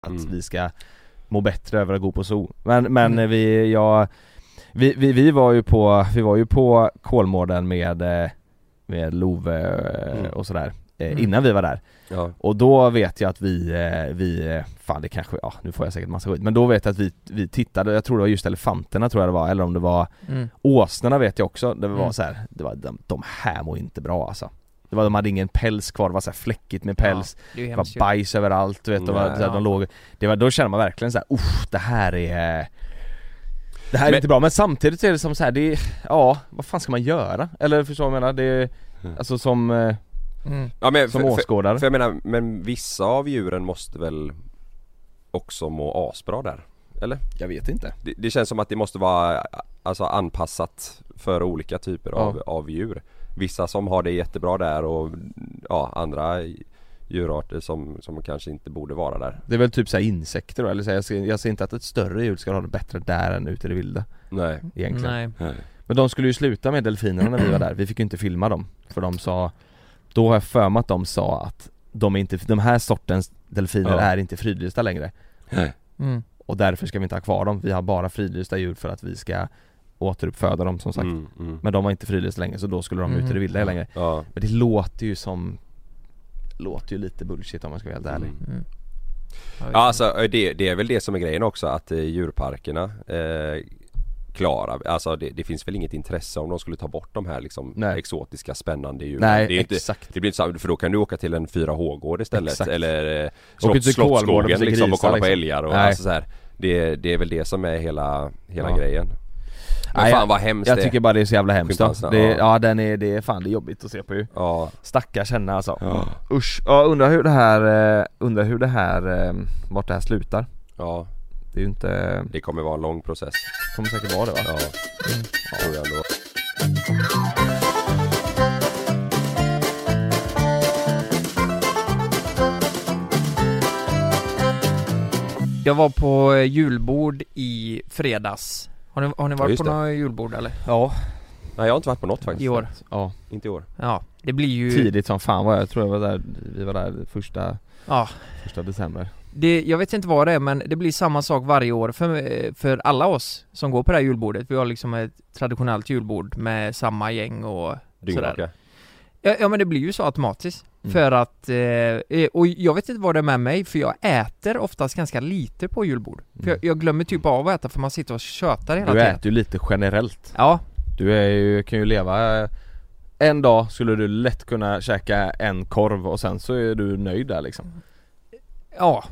S4: att
S3: Mm.
S4: vi ska må bättre över att gå på zoo. Men, men vi, jag, vi, vi, vi var ju på, vi var ju på Kolmården med, eh, med Love eh,
S2: Mm.
S4: och sådär eh,
S3: Mm.
S4: innan vi var där.
S2: Ja,
S4: Och då vet jag att vi, eh, vi, eh, fan det kanske, ja nu får jag säkert massa skit, men då vet jag att vi, vi tittade, jag tror det var just elefanterna tror jag det var, eller om det var
S3: Mm.
S4: åsnorna vet jag också, det var
S3: Mm.
S4: så här, det var, de, de här mår inte bra alltså. Det var, de hade ingen päls kvar, det var så här fläckigt med päls,
S3: Ja, det är ju
S4: det
S3: hemskt
S4: var
S3: ju.
S4: bajs överallt, du vet, de, var,
S2: Nej,
S4: så här,
S3: ja.
S4: de låg, det var, då känner man verkligen så här, uff det här är Det här är
S2: Men-
S4: inte bra, men samtidigt så är det som så här, det är, ja, vad fan ska man göra? Eller förstår du vad jag menar? Det är, alltså som, eh,
S3: Mm.
S2: ja men
S4: som
S2: för, för,
S4: åskådare
S2: för jag menar, men vissa av djuren måste väl också må asbra där? Eller?
S4: Jag vet inte
S2: Det, det känns som att det måste vara alltså, anpassat för olika typer av, av djur Vissa som har det jättebra där och ja, andra djurarter som, som kanske inte borde vara där
S4: Det är väl typ så här insekter då, eller så här, jag, ser, jag ser inte att ett större djur ska ha det bättre där än ute i det vilda
S2: Nej
S4: egentligen
S3: Nej. Mm,
S4: Men de skulle ju sluta med delfinerna när vi var där, vi fick ju inte filma dem För de sa, då har jag för mig att de sa att de, är inte, de här sortens delfiner
S2: Ja.
S4: är inte fridlysta längre
S3: Mm.
S4: Och därför ska vi inte ha kvar dem, vi har bara fridlysta djur för att vi ska återuppföda dem som sagt
S2: Mm, mm.
S4: Men de var inte fridlysta längre så då skulle de ut i det
S3: Mhm.
S4: vilda längre
S2: Ja.
S4: Men det låter ju som, låter ju lite bullshit om man ska vara helt ärlig
S2: Mm.
S3: Mm.
S2: Ja, alltså eh, det, det är väl det som är grejen också att eh, djurparkerna eh, klarar, alltså det, det finns väl inget intresse om de skulle ta bort de här liksom
S4: Nej.
S2: exotiska spännande djuren.
S4: Nej
S2: det är ju inte,
S4: exakt
S2: det blir inte samma, för då kan du åka till en 4H-gård istället
S4: Exakt.
S2: eller eh,
S4: Åker
S2: slott,
S4: till Kolmården
S2: Slottsskogen
S4: och se
S2: liksom och
S4: grisar,
S2: kolla på
S4: liksom.
S2: älgar och
S4: Nej.
S2: alltså så här. Det, det är väl det som är hela, hela
S4: Ja.
S2: grejen. Men
S4: Nej,
S2: fan vad hemskt
S4: Jag
S2: det är.
S4: tycker bara det är så jävla hemskt då.
S2: Schimpanserna,
S4: det,
S2: ja.
S4: ja. ja den är, det är fan det är jobbigt att se på ju
S2: Ja,
S4: Stackars henne alltså
S2: ja,
S4: Usch, ja undrar hur det här, eh, undrar hur det här, eh, vart det här slutar
S2: ja,
S4: Det är ju inte,
S2: det kommer vara en lång process.
S4: kommer säkert vara det va?
S2: Ja,
S4: Mm.
S2: tror jag ändå.
S3: Jag var på eh, julbord i fredags. Har ni, har ni
S2: Ja,
S3: varit
S2: just
S3: på
S2: det.
S3: några julbord eller?
S4: Ja,
S2: Nej jag har inte varit på något faktiskt.
S3: I år?
S4: ja.
S2: Inte i år.
S3: Ja, det blir ju...
S4: tidigt som fan var jag, jag tror jag var där, vi var där första,
S3: Ja.
S4: första december
S3: Det, jag vet inte vad det är men det blir samma sak varje år för, eh, för alla oss som går på det här julbordet. Vi har liksom ett traditionellt julbord med samma gäng och
S2: Dyngraka.
S3: Ja, ja men det blir ju så automatiskt.
S4: Mm.
S3: För att, eh, eh, och jag vet inte vad det är med mig för jag äter oftast ganska lite på julbord. För
S4: Mm.
S3: jag, jag glömmer typ av att äta för man sitter och tjötar hela
S4: Du
S3: tiden.
S4: äter ju lite generellt
S3: Ja,
S4: Du är ju, kan ju leva eh, en dag skulle du lätt kunna käka en korv och sen så är du nöjd där liksom
S3: ja,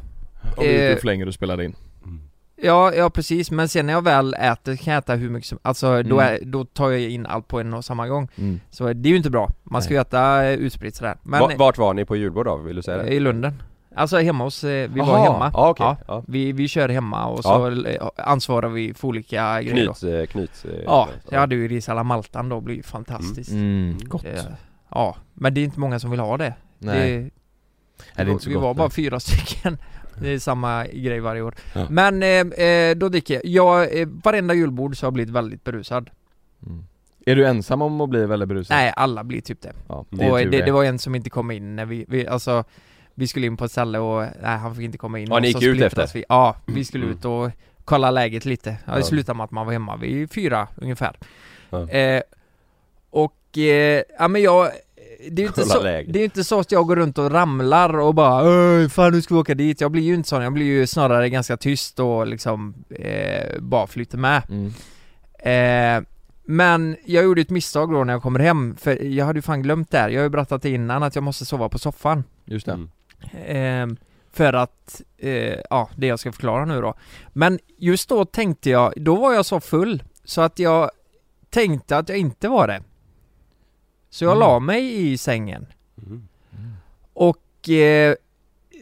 S4: Om det
S3: Eh.
S4: gick ut för länge du spelade in
S2: Mm.
S3: ja, ja precis. Men sen när jag väl äter kan jag äta hur mycket som Alltså då,
S4: Mm.
S3: är, då tar jag in allt på en och samma gång.
S4: mm.
S3: Så det är ju inte bra. Man ska
S4: Nej.
S3: ju äta eh, utspritt sådär. Men, eh,
S2: Va- Vart var ni på julbord då? Vill du säga det?
S3: I Lunden. Alltså hemma hos, eh, vi var
S2: Aha,
S3: hemma.
S2: Ja, okej.
S3: Ja.
S2: Ja.
S3: Vi, vi kör hemma och så eh, ansvarar vi för olika grejer då.
S2: Knyt, eh, knyt. eh,
S3: Ja, jag hade ju ris alla maltan då, blir ju fantastiskt.
S4: Mm. Gott
S3: Eh, Ja, men det är inte många som vill ha det.
S4: Nej,
S3: det,
S4: det är inte så
S3: vi
S4: gott,
S3: var bara
S4: nej.
S3: fyra stycken. Det är samma grej varje år.
S2: Ja.
S3: Men eh, eh, då dricker jag. jag eh, varenda julbord så har jag blivit väldigt berusad.
S4: Mm. Är du ensam om att bli väldigt berusad?
S3: Nej, alla blir typ det.
S4: Ja,
S2: Det är
S3: och
S4: ju
S3: det,
S4: tur
S3: det var en som inte kom in när vi, vi alltså vi skulle in på ett ställe och nej, han fick inte komma in
S2: Ja,
S3: och
S2: ni
S3: så
S2: gick ut
S3: splittras
S2: efter?
S3: Vi. Ja, vi skulle
S2: Mm.
S3: ut och kolla läget lite. Ja, det
S2: Ja.
S3: slutade med att man var hemma vid fyra ungefär.
S2: Ja.
S3: Eh, och, eh, ja men jag det är, ju inte
S2: Kolla
S3: så,
S2: läget.
S3: det är ju inte så att jag går runt och ramlar och bara "Öh, fan nu ska vi åka dit' Jag blir ju inte sån, jag blir ju snarare ganska tyst och liksom eh, bara flyter med
S4: Mm.
S3: Eh, men jag gjorde ett misstag då när jag kommer hem, för jag hade ju fan glömt det här. Jag har ju berättat det innan att jag måste sova på soffan.
S4: Just det.
S2: Mm.
S3: Eh, för att, eh, ja, det jag ska förklara nu då. Men just då tänkte jag, då var jag så full så att jag tänkte att jag inte var det. Så jag
S4: Mm.
S3: la mig i sängen.
S2: Mm.
S3: Och eh,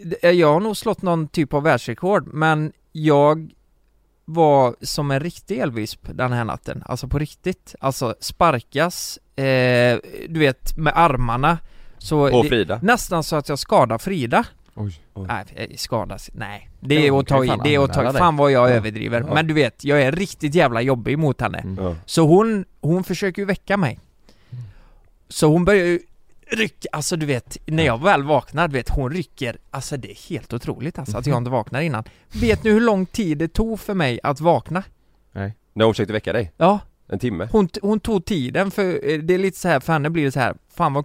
S3: det- jag har nog slått någon typ av världsrekord men jag var som en riktig elvisp den här natten, alltså på riktigt. Alltså sparkas, eh, du vet med armarna. Så
S2: Och
S3: det-
S2: Frida.
S3: nästan så att jag skadar Frida.
S4: Oj.
S3: Nej, eh, skadas, nej. Det
S4: Ja,
S3: är
S4: hon
S3: att
S4: kan
S3: ta
S4: ju
S3: i,
S4: fan
S3: det är att ta
S4: anmäla
S3: i.
S4: dig.
S3: Fan vad jag
S4: Ja.
S3: överdriver.
S4: Ja.
S3: Men du vet, jag är riktigt jävla jobbig mot henne.
S4: Mm.
S2: Ja.
S3: Så hon, hon försöker ju väcka mig. Så hon börjar ju rycka, alltså du vet, när jag väl vaknar, du vet, hon rycker, alltså det är helt otroligt alltså att
S4: Mhm.
S3: jag inte vaknar innan. Vet ni hur lång tid det tog för mig att vakna?
S2: När hon försökte väcka dig?
S3: Ja,
S2: En timme?
S3: hon, t- hon tog tiden för, eh, det är lite så här, för henne blir det så här, fan vad,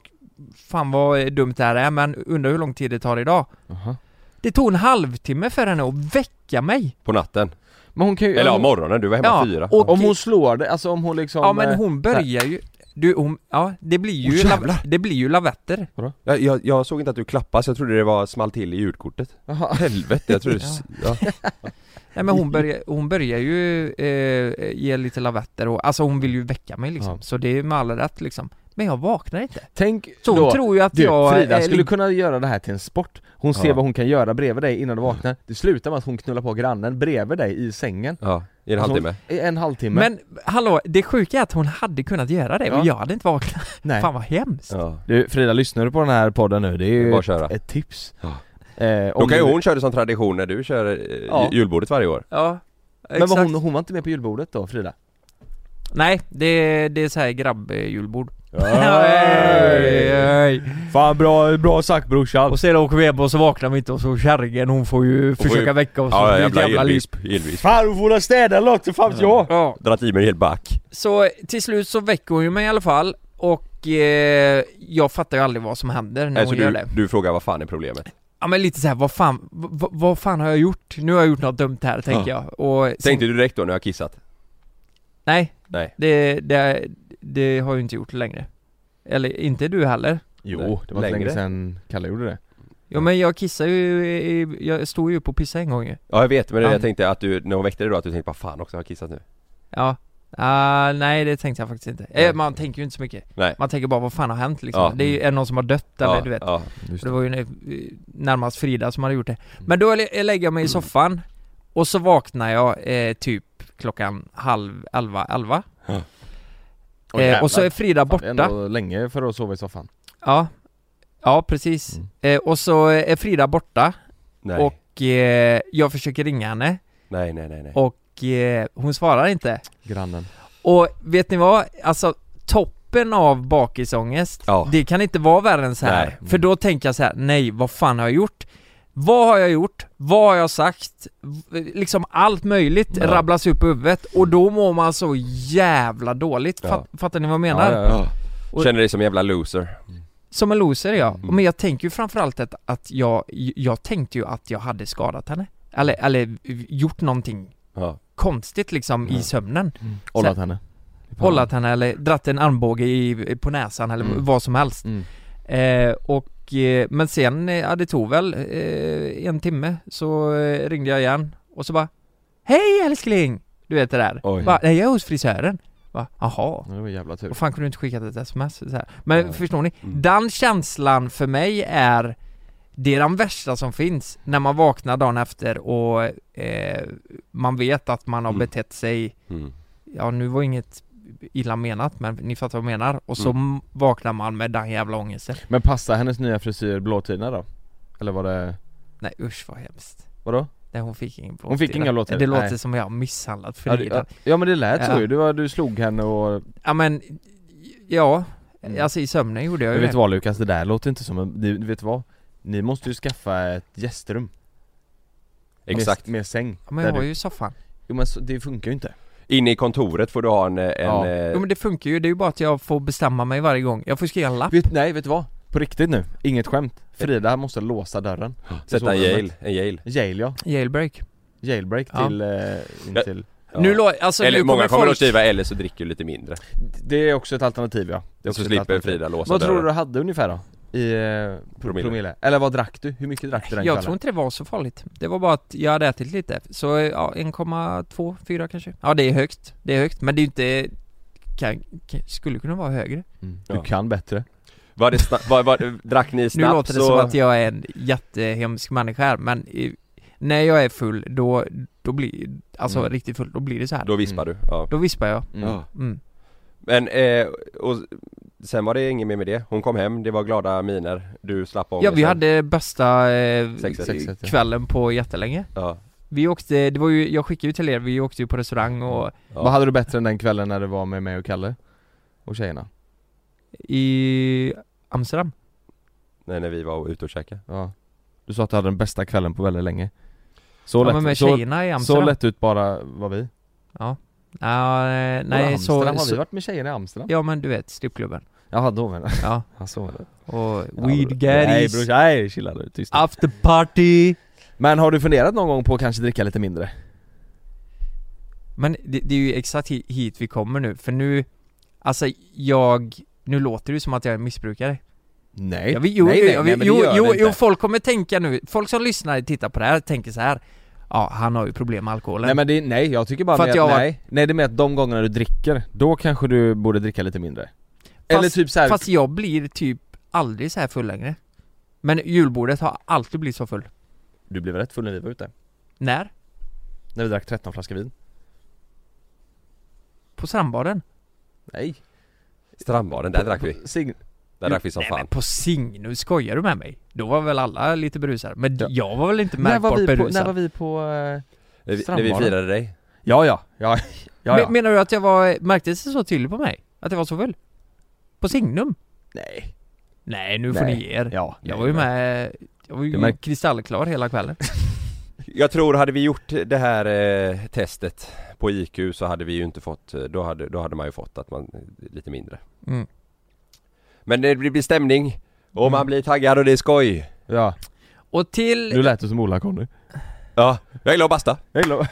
S3: fan vad eh, dumt det här är, men undrar hur lång tid det tar idag?
S4: Jaha.
S3: Det tog en halvtimme för henne att väcka mig!
S2: På natten?
S4: Men hon kan ju...
S2: Eller ja,
S4: om,
S2: morgonen, du var hemma
S3: Ja,
S2: fyra
S3: och-
S4: om hon slår dig, alltså om hon liksom...
S3: Ja men
S4: eh,
S3: hon börjar ju, du hon, ja det blir ju,
S2: Åh,
S3: lav-
S2: jävlar.
S3: det blir ju lavetter
S2: jag, jag, jag såg inte att du klappade så jag trodde det var small till i ljudkortet
S4: Jaha.
S2: Helvete, jag trodde... ja.
S3: Nej men hon börjar, hon börjar ju eh, ge lite lavetter och, alltså hon vill ju väcka mig liksom,
S4: Ja.
S3: så det är med all rätt liksom Men jag vaknar inte
S4: Tänk
S3: Så hon
S4: då,
S3: tror ju att
S4: du,
S3: jag
S4: Frida
S3: är-
S4: skulle kunna göra det här till en sport Hon ser
S2: Ja.
S4: vad hon kan göra bredvid dig innan du vaknar Det slutar med att hon knullar på grannen bredvid dig i sängen
S2: ja, i en
S4: Alltså,
S2: halvtimme
S4: hon- I en halvtimme
S3: Men hallå, det sjuka är att hon hade kunnat göra det
S4: Ja.
S3: och jag hade inte vaknat
S4: Nej.
S3: Fan vad hemskt!
S2: ja.
S4: Du Frida, lyssnar du på den här podden nu? Det är ju
S2: Bara
S4: ett,
S2: köra.
S4: ett tips
S2: Ja.
S4: Eh,
S2: Då
S4: om
S2: kan ju
S4: du-
S2: hon köra det som tradition när du kör eh,
S4: Ja.
S2: julbordet varje år
S3: Ja,
S4: Men
S3: exakt
S4: var hon, hon var inte med på julbordet då Frida?
S3: Nej, det, det är så här eh, grabbjulbord
S4: Fan bra, bra sagt brorsan!
S3: Och sedan åker vi hem och så vaknar vi inte och så kärringen hon får ju
S2: får ju-
S3: försöka väcka oss och
S2: Ja,
S3: det är ett
S2: jävla
S3: liv.
S2: elvisp, elvisp
S4: Fan du får väl städa lågt, fan vet jag!
S3: Ja,
S2: Dratt i mig en hel back
S3: så till slut så väcker hon ju mig i alla fall och eh, jag fattar ju aldrig vad som händer när
S2: Alltså
S3: hon gör
S2: du,
S3: det
S2: du frågar vad fan är problemet?
S3: Ja men lite så här, vad fan, vad, vad fan har jag gjort? Nu har jag gjort något dumt här tänker jag och sen-
S2: Tänkte du direkt då när jag kissat?
S3: Nej,
S2: Nej
S3: det, det, det har jag inte gjort längre Eller inte du heller
S4: Jo, det var inte
S2: Längre.
S4: länge sedan Kalle gjorde det
S3: Jo men jag kissar ju, i- jag stod ju upp och pissade en gång ju
S2: Ja jag vet men det,
S3: Ja.
S2: jag tänkte att du, när hon väckte dig då att du tänkte vad fan också har jag kissat nu?
S3: Ja, Ah, nej det tänkte jag faktiskt inte
S2: Nej.
S3: eh, Man tänker ju inte så mycket
S2: Nej
S3: Man tänker bara vad fan har hänt liksom?
S2: Ja.
S3: Det är ju är det någon som har dött eller
S2: ja,
S3: du vet
S2: ja.
S4: Just
S3: Det var ju n- närmast Frida som hade gjort det
S4: Mm.
S3: Men då lä- lägger jag mig i soffan Och så vaknar jag eh, typ klockan halv elva, elva
S4: Åh,
S3: eh,
S4: jävlar.
S3: Och så är Frida
S4: Fan, Det är
S3: borta
S4: ändå länge för att sova i soffan
S3: Ja Ja precis
S4: Mm.
S3: eh, Och så är Frida borta
S2: Nej.
S3: och eh, jag försöker ringa henne
S2: nej nej nej nej
S3: och eh, hon svarar inte
S4: Grannen
S3: Och vet ni vad? Alltså toppen av bakisångest,
S2: Ja.
S3: det kan inte vara värre än så här.
S2: Nej.
S3: För då tänker jag så här: nej vad fan har jag gjort? Vad har jag gjort? Vad har jag sagt? V- Liksom allt möjligt
S2: Ja.
S3: rabblas upp i huvudet och då mår man så jävla dåligt,
S2: Ja.
S3: Fatt, fattar ni vad jag menar?
S4: Ja, ja, ja.
S2: Ja.
S3: Och-
S2: Känner dig som en jävla loser
S3: Som en loser ja,
S2: Mm.
S3: men jag tänker ju framförallt att, att jag, jag tänkte ju att jag hade skadat henne Eller, eller gjort någonting
S2: Ja,
S3: konstigt liksom
S2: Ja.
S3: i sömnen
S4: Ollat henne
S3: Hållat henne eller dratt en armbåge i, på näsan eller
S4: Mm.
S3: vad som helst
S4: Mm.
S3: eh, Och, eh, men sen, eh, ja det tog väl eh, en timme så eh, ringde jag igen och så bara Hej älskling! Du vet det där,
S2: Oj.
S3: bara, Nej jag är hos frisören Va, Jaha,
S4: Ja, Det var jävla tur
S3: vad fan kunde du inte skicka ett sms? Så här. Men
S4: Ja.
S3: förstår ni?
S2: Mm.
S3: Den känslan för mig är Det är den värsta som finns när man vaknar dagen efter och eh, man vet att man har
S2: Mm.
S3: betett sig
S2: mm.
S3: ja nu var inget illa menat men ni fattar vad jag menar och så
S2: Mm.
S3: m- vaknar man med den jävla ångesten
S4: Men passar hennes nya frisyr blåtina då? Eller var det,
S3: Nej usch vad hemskt
S4: vadå?
S3: Nej hon fick ingen blåtira
S4: Hon fick inga blåtira?
S3: Det låter
S4: Nej.
S3: som jag har misshandlat
S4: Ja, du- ja,
S3: Frida
S4: ja men det lät så
S3: Ja.
S4: ju, du, var- du slog henne och...
S3: Ja men, ja,
S4: Mm.
S3: alltså i sömnen gjorde jag
S4: Men
S3: ju
S4: vet du
S3: det
S4: vad Lukas, det där låter inte som en, ni, vet du vad? Ni måste ju skaffa ett gästrum
S2: Exakt
S4: Med, med säng
S3: ja, men
S4: där
S3: jag har
S4: du-
S3: ju soffan
S4: Jo men så, det funkar ju inte
S2: Inne i kontoret får du ha en, eh, en
S4: Ja.
S2: eh,
S3: Jo men det funkar ju, det är ju bara att jag får bestämma mig varje gång Jag får skriva en lapp
S4: vet, Nej vet du vad? På riktigt nu, inget skämt Frida måste låsa dörren till
S2: Sätta en
S4: sovrummet.
S2: Yale, en Yale
S4: Yale ja,
S3: Jailbreak
S4: jailbreak
S3: Ja.
S4: till, eh, in
S2: Ja.
S4: till
S2: Ja.
S3: Nu lå- alltså
S2: Eller
S3: nu
S2: många kommer att
S3: folk...
S2: skriva eller så dricker du lite mindre
S4: Det är också ett alternativ ja det är också
S2: Så
S4: ett
S2: slipper
S4: alternativ.
S2: Frida låsa
S4: Vad tror du
S2: dörren.
S4: du hade ungefär då? I eh,
S2: Promille.
S4: promille. promille? Eller vad drack du? Hur mycket drack du den
S3: Jag
S4: kvällen?
S3: tror inte det var så farligt Det var bara att jag hade ätit lite Så eh, ja, 1,2, 4 kanske Ja det är högt, det är högt men det är ju inte kan, kan, Skulle kunna vara högre
S4: Mm.
S2: Ja.
S4: Du kan bättre
S2: Var det sna- var, var, drack ni
S3: Nu
S2: snabbt
S3: låter det
S2: så...
S3: som att jag är en jättehemsk människa här, men eh, när jag är full, då, då blir, alltså
S2: Mm.
S3: riktigt full, då blir det så här.
S2: Då vispar du? Ja.
S3: Då vispar jag.
S2: Ja.
S3: Mm.
S2: Men, eh, och sen var det inget mer med det. Hon kom hem, det var glada miner, du slapp
S3: Ja
S2: ångesten.
S3: vi hade bästa eh,
S2: Sexet. Sexet, ja.
S3: kvällen på jättelänge
S2: Ja.
S3: Vi åkte, det var ju, jag skickade ju till er, vi åkte ju på restaurang och
S2: Ja.
S4: Vad hade du bättre än den kvällen när du var med mig och Kalle? Och tjejerna?
S3: i Amsterdam
S2: Nej, när vi var ute och käkade.
S4: Ja Du sa att du hade den bästa kvällen på väldigt länge Så
S3: Ja,
S4: lätt,
S3: men med
S4: så,
S3: tjejerna i
S4: så
S3: Amsterdam
S4: lätt ut bara var vi
S3: Ja, ja eh,
S4: Vadå,
S3: nej så,
S4: Amsterdam? Har vi
S3: så
S4: varit med tjejerna i Amsterdam?
S3: Ja men du vet, strippklubben
S4: Jaha, då menar jag.
S3: Ja,
S4: Ja, så menar jag.
S3: och
S4: Ja,
S3: weed
S4: bror. Nej bror,
S3: gaddies,
S4: nej chilla nu, tyst nu.
S3: after party
S4: Men har du funderat någon gång på att kanske dricka lite mindre?
S3: Men det, det är ju exakt hi- hit vi kommer nu, för nu Alltså jag, nu låter det ju som att jag är en missbrukare
S4: Nej,
S3: Jag vill, jo,
S4: nej, nej,
S3: jag
S4: nej,
S3: vill,
S4: men det
S3: jo,
S4: gör
S3: jo,
S4: det
S3: jo,
S4: inte.
S3: folk kommer tänka nu, folk som lyssnar och tittar på det här tänker så här Ja, han har ju problem med alkoholen
S4: Nej men det, nej jag tycker bara
S3: För
S4: med
S3: att
S4: att,
S3: jag var-
S4: nej, nej det är med att de gångerna du dricker, då kanske du borde dricka lite mindre
S3: fast,
S4: Eller typ såhär,
S3: fast jag blir typ aldrig så här full längre Men julbordet har alltid blivit så full
S4: du blev rätt full när vi var ute,
S3: När?
S4: när vi drack 13 flaskor vin
S3: På strandbaden?
S4: Nej,
S2: Strandbaden, där drack vi.
S4: Sign-
S2: Där drack vi som
S3: Nej
S2: fan.
S3: men på Signus, skojar du med mig? Då var väl alla lite berusade, men
S4: Ja.
S3: jag var väl inte
S4: när, var
S3: märkbart
S4: vi på,
S3: berusad
S4: när var vi på... eh,
S2: När vi- när vi
S4: Strandbaden.
S2: firade dig.
S4: Ja ja, ja ja, ja.
S3: Men- Menar du att jag var, märktes det så tydligt på mig? Att jag var så full? På Signum?
S4: Nej,
S3: Nej nu får
S4: Nej.
S3: ni ge er
S4: ja
S3: Jag var ju med, jag var ju
S4: Det märk-
S3: kristallklar hela kvällen
S2: Jag tror hade vi gjort det här eh, testet på IQ så hade vi ju inte fått, eh, då hade, då hade man ju fått att man, eh, lite mindre.
S3: Mm.
S2: Men det blir blir stämning och man
S3: Mm.
S2: blir taggad och det är skoj.
S4: Ja,
S3: Och till,
S4: nu lät du som Ola-Conny
S2: Ja, jag gillar att basta.
S4: Hej då.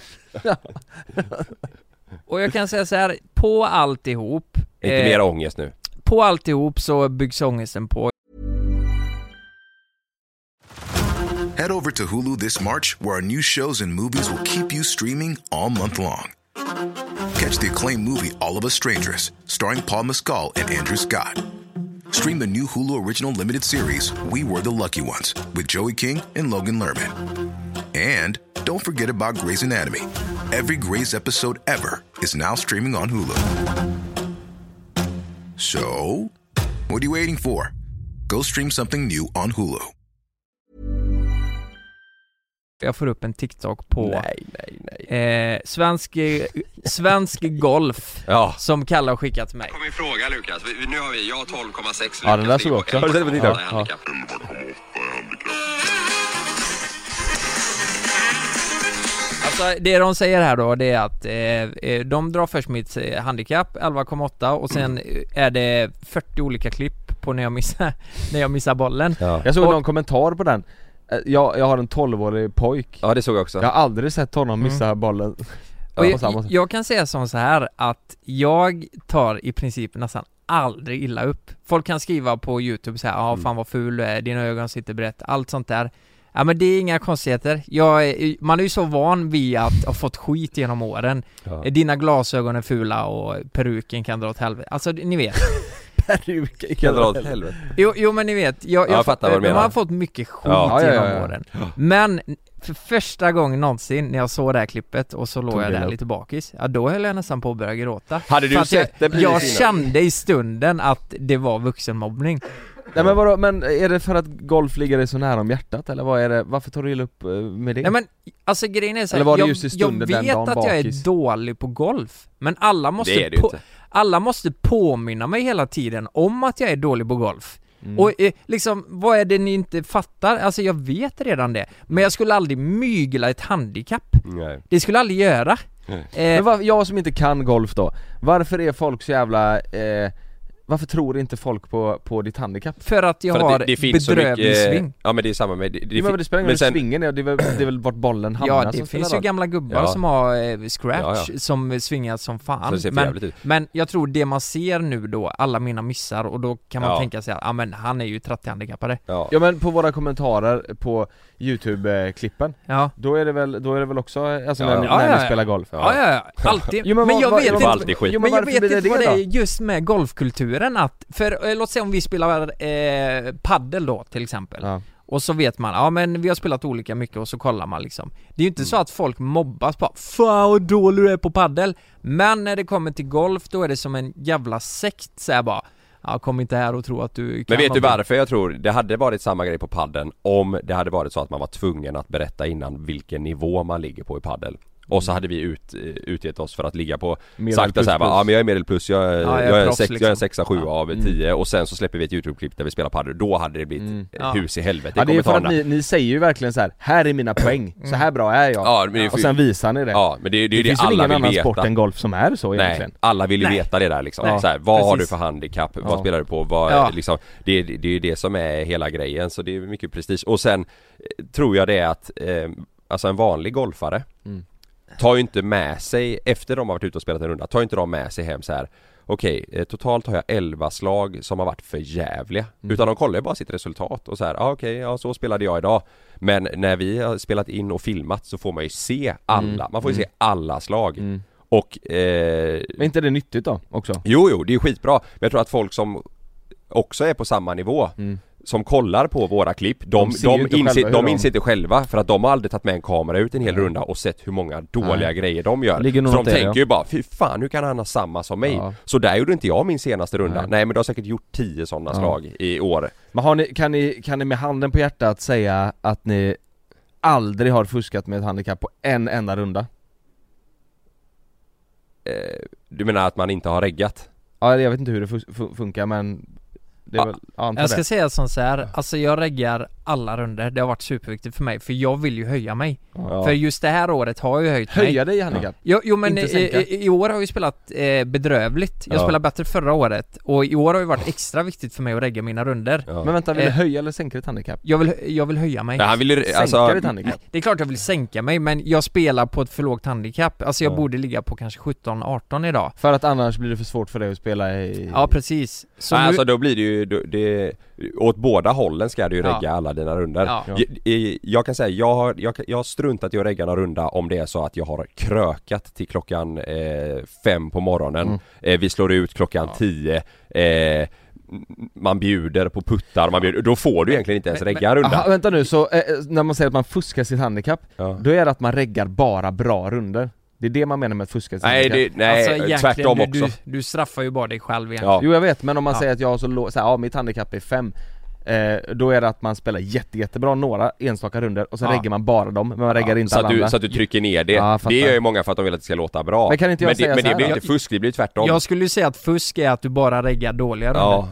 S3: och jag kan säga så här, på alltihop
S2: Inte
S3: eh,
S2: mer ångest nu.
S3: På alltihop så byggs ångesten på
S8: Head over to Hulu this March, where our new shows and movies will keep you streaming all month long. Catch the acclaimed movie All of Us Strangers, starring Paul Mescal and Andrew Scott. Stream the new Hulu original limited series We Were the Lucky Ones with Joey King and Logan Lerman. And don't forget about Grey's Anatomy. Every Grey's episode ever is now streaming on Hulu. So, what are you waiting for? Go stream something new on Hulu.
S3: Jag får upp en TikTok på
S2: Nej, nej, nej.
S3: eh, svensk, eh, svensk Golf
S2: Ja.
S3: Som Kalle har skickat till mig
S2: Kom min fråga Lukas, nu har vi, jag 12,6
S4: Ja den där såg jag också
S2: Har du sett på TikTok?
S4: Ja, ja.
S3: Alltså det de säger här då, det är att eh, eh, de drar först mitt eh, handikapp 11,8 och sen eh, är det 40 olika klipp på när jag missar, när jag missar bollen
S2: Ja.
S4: Jag såg
S3: Och-
S4: någon kommentar på den Eh, jag, jag har en 12-årig pojk
S2: ja, det såg jag också.
S4: Jag har aldrig sett honom missa bollen
S3: Mm. Och
S4: på samma
S3: jag,
S4: sätt.
S3: jag kan säga som så här att jag tar i princip nästan aldrig illa upp. Folk kan skriva på youtube så här, ja ah, fan vad ful du är, dina ögon sitter brett, allt sånt där. Ja men det är inga konstigheter. Jag, är- man är ju så van vid att ha fått skit genom åren.
S2: Ja.
S3: Dina glasögon är fula och peruken kan dra åt helvete. Alltså ni vet.
S4: Peruk
S2: Kan dra åt helvete.
S3: Jo, jo men ni vet, jag,
S2: Ja, jag fattar vad du menar.
S3: man har fått mycket skit
S2: Ja,
S4: ja, ja,
S3: genom
S4: ja.
S3: åren Men för första gången någonsin när jag såg det här klippet och så låg
S4: Tog
S3: jag
S4: det
S3: där
S4: upp.
S3: lite bakis, ja då höll jag nästan på att börja gråta
S2: Hade du
S3: För att
S2: sett det
S3: jag,
S2: precis
S3: jag
S2: innan?
S3: kände i stunden att det var vuxenmobbning
S4: Nej men vadå, men är det för att golf ligger dig så nära om hjärtat eller vad är det, varför tar du illa upp eh, med det?
S3: Nej men alltså grejen är så här,
S4: Eller var det
S3: jag,
S4: just i
S3: jag
S4: stunden
S3: vet
S4: den dagen
S3: att jag är
S4: bakis?
S3: dålig på golf Men alla måste,
S2: Det är det ju
S3: på,
S2: inte.
S3: alla måste påminna mig hela tiden om att jag är dålig på golf Och eh, liksom, vad är det ni inte fattar? Alltså jag vet redan det Men jag skulle aldrig mygla ett handikapp
S2: Nej.
S3: Det skulle jag aldrig göra eh,
S4: Men var, jag som inte kan golf då, varför är folk så jävla, eh, varför tror inte folk på, på ditt handikapp?
S3: För att jag
S2: För
S3: har
S2: att det, det finns så
S3: bedrövlig
S2: mycket,
S3: sving
S2: Ja men det är samma med... Det, det,
S4: Det, men det
S2: fin-
S4: spelar ingen roll hur svingen är, det är, väl, det är väl vart bollen hamnar
S3: Ja
S4: som
S3: det
S4: spelar
S3: finns ju
S4: roll.
S3: gamla gubbar
S2: Ja.
S3: som har eh, scratch
S2: Ja, ja.
S3: som svingas som
S2: Så
S3: fan
S2: det ser för
S3: men,
S2: jävligt ut.
S3: men jag tror det man ser nu då, alla mina missar och då kan man
S2: Ja.
S3: tänka sig att ah, men han är ju 30-handikappade
S2: Ja.
S4: Ja men på våra kommentarer på youtube-klippen,
S3: Ja
S4: då är det väl, då är det väl också, alltså
S2: Ja,
S4: när,
S2: ja.
S4: ni-
S3: Ja,
S4: när
S3: ja,
S4: ni
S3: ja.
S4: spelar golf?
S3: Ja, ja, ja. Alltid.
S4: Jo,
S3: men,
S4: men vad-
S3: jag
S4: vad-
S3: vet
S4: vad-
S3: inte,
S2: alltid skit.
S4: Jo, men
S3: men jag
S4: varför
S3: vet
S4: blir det
S3: inte vad
S4: det
S3: det är
S4: då?
S3: just med golfkulturen att, för eh, låt säga om vi spelar eh, paddel då till exempel.
S4: Ja.
S3: Och så vet man, ja men vi har spelat olika mycket och så kollar man liksom Det är ju
S4: Mm.
S3: inte så att folk mobbas bara 'Fan vad dålig du är på paddel Men när det kommer till golf då är det som en jävla sekt såhär bara Ja kom inte här och tro att du
S2: Men
S3: kan
S2: vet
S3: vara
S2: du
S3: bra."
S2: varför jag tror det hade varit samma grej på padden om det hade varit så att man var tvungen att berätta innan vilken nivå man ligger på i paddel och
S4: Mm.
S2: så hade vi ut, eh, utgett oss för att ligga på
S4: Medel
S2: Sagt
S4: plus
S2: såhär bara,
S4: plus.
S2: ja men jag är medelplus, jag är,
S4: Ja,
S2: jag
S4: jag är
S2: är,
S4: proffs
S2: sex, jag är
S4: liksom.
S2: en sexa, sjua
S4: Ja.
S2: av
S4: Mm.
S2: tio och sen så släpper vi ett Youtube-klipp där vi spelar padel Då hade det blivit
S4: Mm.
S2: eh,
S4: Ja.
S2: hus i helvete
S4: Ja
S2: i
S4: det är för
S2: kommentarerna
S4: att ni, ni säger ju verkligen så här, här är mina poäng,
S3: Mm.
S4: så här bra är jag.
S2: Ja, men det är ju-
S4: och sen visar ni det.
S2: Ja men det, är- det är ju det,
S4: finns väl
S2: alla
S4: ingen
S2: vill
S4: annan
S2: veta
S4: sport än golf som är så egentligen.
S2: Nej, alla vill ju
S4: Nej.
S2: veta det där liksom.
S4: Nej.
S2: Så här, vad har du
S4: Precis.
S2: för handikapp?
S4: Ja.
S2: Vad spelar du på? Vad,
S4: Ja.
S2: liksom, det, det, det är ju det som är hela grejen så det är mycket prestige. Och sen eh, tror jag det är att eh, alltså en vanlig golfare
S4: Mm.
S2: tar ju inte med sig, efter de har varit ute och spelat en runda, tar ju inte de med sig hem så här. Okej, eh, totalt har jag 11 slag som har varit för jävliga.
S4: Mm.
S2: Utan de kollar ju bara sitt resultat och så här, ah, okej, ja så spelade jag idag. Men när vi har spelat in och filmat så får man ju se alla,
S4: Mm.
S2: man får ju
S4: Mm.
S2: se alla slag. Och... Eh,
S4: Men inte det nyttigt då också?
S2: Jo, jo, det är skitbra. Men jag tror att folk som också är på samma nivå
S4: Mm.
S2: Som kollar på våra klipp, de,
S4: De ser ju
S2: de,
S4: inte själva
S2: inser,
S4: hur
S2: de
S4: de-
S2: inser inte själva för att de har aldrig tagit med en kamera ut en hel runda och sett hur många dåliga
S4: Nej.
S2: grejer de gör.
S4: Ligger nog
S2: Så de
S4: något i det,
S2: tänker
S4: ja.
S2: ju bara, fy fan hur kan han ha samma som mig?
S4: Ja.
S2: Så där gjorde inte jag min senaste runda.
S4: Nej.
S2: Nej, men du har säkert gjort tio sådana
S4: Ja.
S2: slag i år.
S4: Men har ni, kan, ni, kan ni med handen på hjärtat säga att ni aldrig har fuskat med ett handikapp på en enda runda?
S2: Eh, du menar att man inte har reggat?
S4: Ja, jag vet inte hur det fus- fun- funkar men det är väl, ja, antar
S3: Jag ska
S4: det.
S3: säga som så här, alltså jag reggar alla runder det har varit superviktigt för mig för jag vill ju höja mig
S4: Ja.
S3: För just det här året har jag ju höjt mig
S4: Höja dig i handikapp?
S3: Jo, jo men
S4: Inte sänka.
S3: i, i år har jag ju spelat eh, bedrövligt Jag
S4: Ja.
S3: spelade bättre förra året och i år har ju varit extra viktigt för mig att regga mina runder
S4: Men vänta, vill du
S3: Eh,
S4: höja eller sänka ditt handikapp?
S3: jag vill, jag vill höja mig
S2: Nej, han vill ju-
S4: Sänka
S2: alltså-
S4: ditt handikapp?
S3: Det är klart jag vill sänka mig men jag spelar på ett för lågt handikapp Alltså jag
S4: Ja.
S3: borde ligga på kanske 17-18
S2: Mm.
S3: idag
S4: För att annars blir det för svårt för dig att spela i...
S3: Ja precis Så
S2: Nej,
S3: nu-
S2: Alltså då blir det ju, då- det, åt båda hållen ska du ju
S3: Ja.
S2: regga alla dina runder.
S3: Ja.
S2: Jag, i- jag kan säga, jag har, jag, kan- jag har struntat i att regga någon runda om det är så att jag har krökat till klockan eh, fem på morgonen.
S4: Mm.
S2: Eh, vi slår ut klockan tio. Eh, man bjuder på puttar, man bjuder, då får du egentligen inte ens regga en runda.
S4: Aha, vänta nu, så eh, eh, när man säger att man fuskar sitt handikapp,
S2: Ja.
S4: då är det att man reggar bara bra runder? Det är det man menar med att fuska sitt
S2: Nej,
S4: handikapp?
S2: det, nej
S3: alltså, egentligen,
S2: tvärtom
S3: du,
S2: också.
S3: Du, du straffar ju bara dig själv egentligen
S2: Ja.
S4: Jo jag vet, men om man
S3: Ja.
S4: säger att jag har så låg, såhär, ja mitt handikapp är 5 eh, Då är det att man spelar jätte, jättebra några enstaka runder och sen
S3: Ja.
S4: reggar man bara dem, men man reggar inte
S2: Så
S4: alla
S2: att, du,
S4: andra
S2: så att du trycker ner det.
S4: Ja, jag fattar.
S2: det gör ju många för att de vill att det ska låta bra.
S4: Men kan inte jag
S2: men det,
S4: säga
S2: men
S4: så här
S2: det blir
S4: då?
S2: inte fusk, det blir tvärtom.
S3: Jag skulle ju säga att fusk är att du bara reggar dåliga
S2: ja.
S3: runder.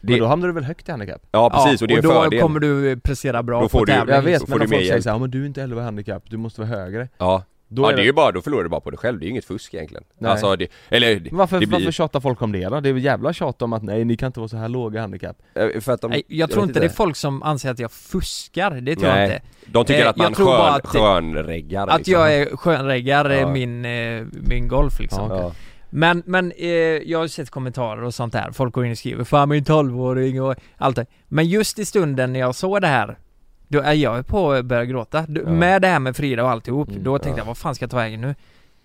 S2: det-
S4: Men då hamnar du väl högt i handikapp?
S2: Ja precis, och det är
S3: då
S2: en fördel.
S3: kommer du eh, prestera bra
S2: Då
S3: på
S2: får du-
S3: tävling.
S4: Jag
S2: men
S4: vet,
S2: så
S4: men
S2: får du
S4: om
S2: mer
S4: folk säger
S2: hjälp.
S4: såhär, ja men du är inte 11 handikapp, du måste vara högre
S2: Ja.
S4: Då
S2: ja
S4: är
S2: det är
S4: det-
S2: ju bara, då förlorar du bara på dig själv, det är ju inget fusk egentligen.
S4: Nej.
S2: Alltså det, eller
S4: Men varför,
S2: det blir,
S4: varför tjatar folk om det då? Det är väl jävla tjat om att nej, ni kan inte vara så här låga handikapp
S2: Eh, för att de,
S3: Nej, jag tror
S2: vet
S3: inte det är folk som anser att jag fuskar, det tror jag
S2: Nej.
S3: inte.
S2: De tycker
S3: Eh,
S2: att man
S3: jag tror bara
S2: skön,
S3: att-
S2: skönreggar
S3: Att
S2: liksom.
S3: jag är skönreggar eh,
S2: Ja.
S3: min, eh, min golf liksom.
S4: Ja, okej.
S2: ja.
S3: Men, men eh, jag har ju sett kommentarer och sånt där. Folk går in och skriver 'Fan min 12-åring' och allt det. Men just i stunden när jag såg det här Då är jag på att börja gråta. Du,
S4: Ja.
S3: Med det här med Frida och alltihop,
S4: Mm,
S3: då tänkte
S2: ja.
S3: jag 'Vad fan ska jag ta vägen nu?'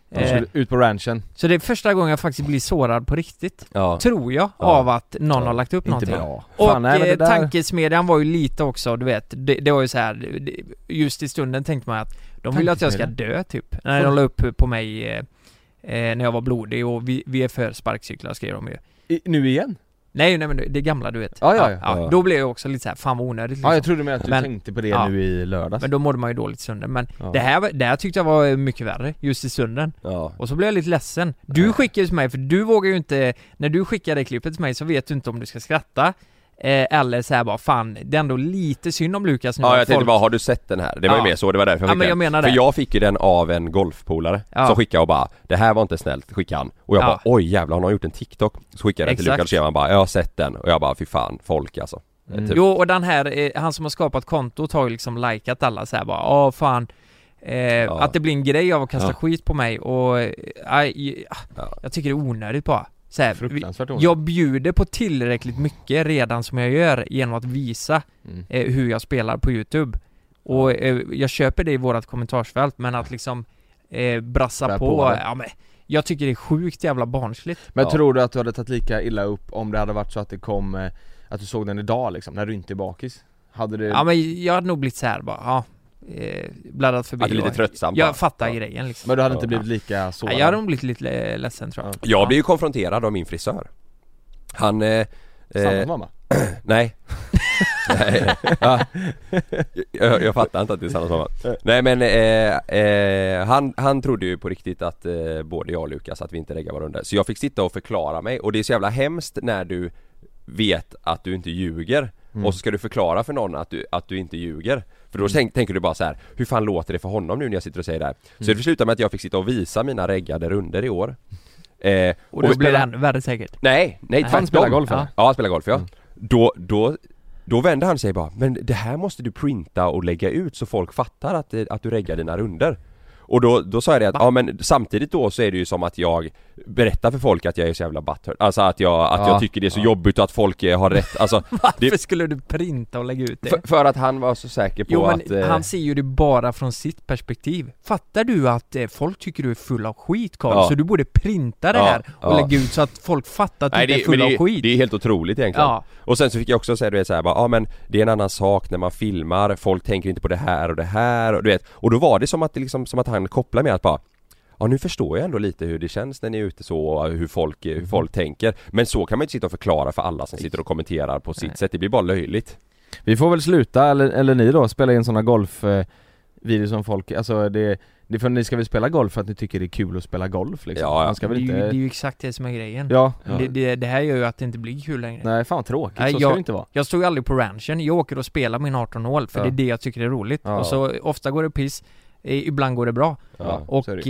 S4: De
S3: Eh,
S4: skulle Ut på ranchen,
S3: så det är första gången jag faktiskt blir sårad på riktigt.
S2: Ja.
S3: Tror jag,
S2: Ja.
S3: av att någon
S2: Ja.
S3: har lagt upp
S4: inte
S3: någonting
S4: bra
S3: Och
S4: Fan, nej, men det
S3: eh,
S4: där-
S3: tankesmedjan var ju lite också, du vet Det, det var ju så här, det- just i stunden tänkte man att De vill ju att jag ska
S4: Tankesmedjan?
S3: dö typ När de la upp på mig eh, eh, När jag var blodig och vi, vi är för sparkcyklar skrev de ju
S4: I, Nu igen?
S3: Nej nej men det gamla du vet
S4: Ja, ja, ja.
S2: Ja.
S3: Då blev jag också lite så här, fan vad onödigt liksom.
S4: Ja jag trodde mer att du
S3: Men-
S4: tänkte på det
S3: ja.
S4: nu i lördags
S3: Men då mådde man ju dåligt i stunden Men
S4: Ja.
S3: det, här, var- det här tyckte jag var mycket värre just i stunden
S2: Ja.
S3: och så blev jag lite ledsen. Du skickade ju till mig, för du vågar ju inte, när du skickar det klippet till mig så vet du inte om du ska skratta. Eh, eller så här bara, fan, det är ändå lite synd om Lukas nu.
S2: Ja
S3: att
S2: jag tänkte bara, har du sett den här? Det var ju
S3: Ja.
S2: mer så, det var därför jag
S3: Ja,
S2: skickade
S3: men jag
S2: den.
S3: menar
S2: För
S3: det.
S2: jag fick ju den av en golfpolare
S3: Ja.
S2: som skickade och bara Det här var inte snällt, skicka han Och jag
S3: Ja.
S2: bara oj jävlar, han har gjort en TikTok Så skickade jag den till
S3: Exakt.
S2: Lukas och skrev han bara jag har sett den och jag bara fy fan, folk alltså Eh, typ.
S3: Mm. Jo, och den här, eh, han som har skapat kontot har ju liksom likat alla så här bara, åh fan. Eh,
S2: Ja.
S3: Att det blir en grej av att kasta
S2: Ja.
S3: skit på mig och, eh, aj, ah,
S2: Ja.
S3: jag tycker det är onödigt bara. Så här, vi-
S4: Fruktansvärt ont.
S3: jag bjuder på tillräckligt mycket redan som jag gör genom att visa
S4: Mm.
S3: eh, hur jag spelar på Youtube Och eh, jag köper det i vårat kommentarsfält men att liksom eh, brassa
S4: Spä
S3: på,
S4: på det.
S3: ja men Jag tycker det är sjukt jävla barnsligt
S4: Men
S2: Ja.
S4: tror du att du hade tagit lika illa upp om det hade varit så att det kom, eh, att du såg den idag liksom, när du inte är bakis? Hade
S2: Mm.
S4: det...
S3: Ja men jag hade nog blivit så här bara, ja eh, Bladdat förbi
S2: Ja, det är lite
S3: och-
S2: tröttsamt bara.
S3: Jag fattar
S2: Ja.
S3: grejen liksom
S2: Men du hade inte
S3: Ja.
S2: blivit lika sårad?
S3: Nej, Jag hade nog blivit lite le- ledsen tror jag
S2: Jag blev ju konfronterad av min frisör Han... Eh,
S4: Samma mamma?
S2: Nej Nej, ja. jag, jag fattar inte att det är samma mamma Nej men eh, eh, han, han trodde ju på riktigt att eh, både jag och Lukas att vi inte reggar varandra Så jag fick sitta och förklara mig och det är så jävla hemskt när du vet att du inte ljuger
S4: Mm.
S2: och så ska du förklara för någon att du, att du inte ljuger För då tänk, tänker du bara så här: hur fan låter det för honom nu när jag sitter och säger det här? Så
S3: Mm.
S2: det slutade med att jag fick sitta och visa mina reggade runder i år Eh,
S3: Och då blir det
S2: spela-
S3: ännu värre säkert
S2: Nej, nej
S3: Han
S2: tvärtom.
S3: spelar golf,
S2: Ja,
S3: va?
S2: han spelar golf ja.
S3: Mm.
S2: Då, då, då vände han sig bara, men det här måste du printa och lägga ut så folk fattar att, det- att du reggar dina runder. Och då, då sa jag det att, ja men samtidigt då så är det ju som att jag berättar för folk att jag är så jävla butthurt. Alltså att jag, att
S3: Ja,
S2: jag tycker det är så jobbigt och att folk eh, har rätt, alltså
S3: Varför
S2: det,
S3: skulle du printa och lägga ut det?
S2: för, för att han var så säker på
S3: Jo men
S2: att... eh,
S3: han ser ju det bara från sitt perspektiv Fattar du att eh, folk tycker du är full av skit Carl,
S2: Ja.
S3: så du borde printa det
S2: Ja,
S3: här och
S2: ja.
S3: lägga ut så att folk fattar att du
S2: Nej,
S3: inte
S2: det,
S3: Typ är
S2: men
S3: full
S2: det,
S3: av skit
S2: det är helt otroligt egentligen.
S3: Ja.
S2: Och sen så fick jag också säga du vet såhär bara, ja men det är en annan sak när man filmar, folk tänker inte på det här och det här och du vet. Och då var det som att, det liksom, som att han kopplade med att bara Ja nu förstår jag ändå lite hur det känns när ni är ute så och hur folk,
S3: Mm.
S2: hur folk tänker Men så kan man ju inte sitta och förklara för alla som sitter och kommenterar på sitt sätt, det blir bara löjligt
S4: Vi får väl sluta, eller, eller ni då, spela in sådana golfvideos som folk, alltså det, det är för ni ska väl spela golf för att ni tycker det är kul att spela golf liksom?
S2: Ja, ja.
S4: Man ska väl
S3: det, är
S4: inte...
S3: ju, det är ju exakt det som är grejen
S4: Ja.
S3: Det, det, det här gör ju att det inte blir kul längre
S4: Nej fan vad tråkigt,
S3: Nej,
S4: så ska
S3: jag,
S4: det inte vara.
S3: jag står ju aldrig på ranchen, jag åker och spelar min 18 hål för
S4: Ja.
S3: det är det jag tycker är roligt
S4: Ja.
S3: Och så ofta går det piss, eh, ibland går det bra
S4: Ja,
S3: Och
S4: så är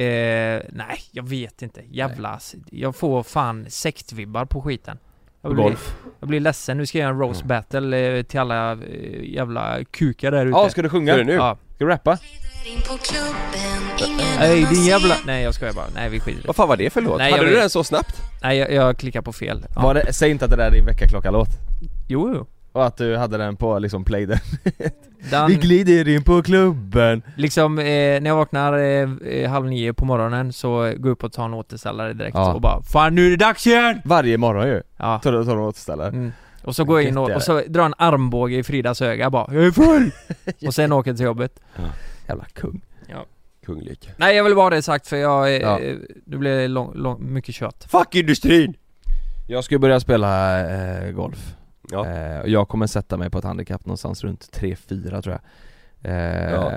S3: eh, eh, nej, jag vet inte, jävla ass- Jag får fan sektvibbar på skiten jag
S4: På
S3: blir,
S4: golf.
S3: jag blir ledsen, nu ska jag göra en roast
S4: Mm.
S3: battle eh, till alla eh, jävla kukar där ute
S4: Ja, ska du sjunga?
S3: Ska du nu? Ja.
S4: Ska du rappa?
S3: Nej din jävla... Nej jag skojar bara, nej vi skiter i det.
S2: Vad fan var det för låt?
S3: Nej,
S2: Hade
S3: jag
S2: du
S3: vet.
S2: den så snabbt?
S3: Nej jag, jag klickar på fel Ja.
S4: Var det, säg inte att det där är din väckarklockalåt
S3: Jo, jo.
S4: Och att du hade den på liksom play den.
S3: Den-
S4: Vi glider in på klubben
S3: Liksom, eh, när jag vaknar eh, eh, halv nio på morgonen så går jag upp och tar en återställare direkt
S4: Ja.
S3: och bara Fan nu är det dags igen!
S4: Varje morgon ju,
S3: Ja.
S4: tar du tar du återställare
S3: Mm. Och så går jag in och,
S4: Gött
S3: och
S4: är
S3: så drar en armbåge i Fridas öga bara Jag är full! och sen åker jag till jobbet
S4: Jävla kung
S3: ja.
S2: Kunglik
S3: Nej jag vill bara ha det sagt för jag, eh,
S4: Ja.
S3: eh, nu blir det lång, lång, mycket kött
S2: Fuck industrin!
S4: Jag ska börja spela eh, golf
S3: Äh,
S2: Ja.
S4: eh, och Jag kommer sätta mig på ett handikapp någonstans runt 3-4 tror jag eh,
S2: Ja.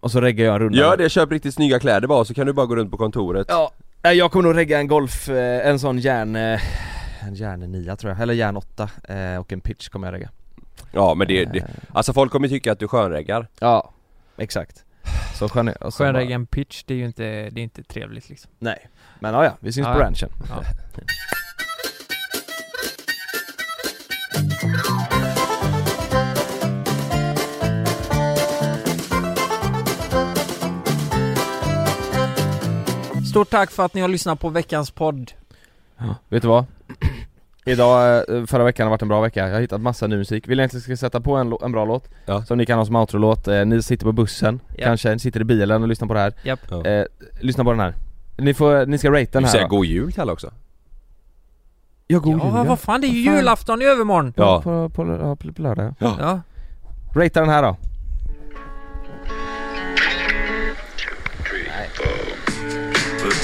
S4: Och så reggar jag en runda
S2: Gör det, köp riktigt snygga kläder bara så kan du bara gå runt på kontoret
S4: Ja, eh, jag kommer nog regga en golf, eh, en sån järn... eh, En järn 9 tror jag, eller järn 8 eh, och en pitch kommer jag regga Eh,
S2: Ja men det, det alltså folk kommer tycka att du skönreggar
S4: Ja, exakt Så skön, och så bara-
S3: Skönreggen pitch, det är ju inte, det är inte trevligt liksom
S4: Nej, men ja, ja vi syns
S3: Ja,
S4: på
S3: ja.
S4: ranchen
S3: Ja. Stort tack för att ni har lyssnat på veckans podd
S4: Vet du vad? Idag, eh, förra veckan har varit en bra vecka, jag har hittat massa ny musik. Vill jag egentligen ska sätta på en, lå- en bra låt
S2: Ja.
S4: Som ni kan ha som outro-låt, Eh, ni sitter på bussen,
S3: Ja.
S4: kanske, ni sitter i bilen och lyssnar på det här
S3: Japp.
S2: Ja.
S4: eh, Lyssna på den här Ni får, ni ska rate den
S2: Du
S4: här
S2: säger
S4: då.
S2: god jul till alla också
S4: Ja, god
S3: Ja
S4: jul
S3: vad fan det är ju
S4: Vad fan.
S3: julafton i övermorgon!
S2: Ja.
S4: På, på, på, på, på lördag ja.
S3: Ja.
S4: Ratea den här då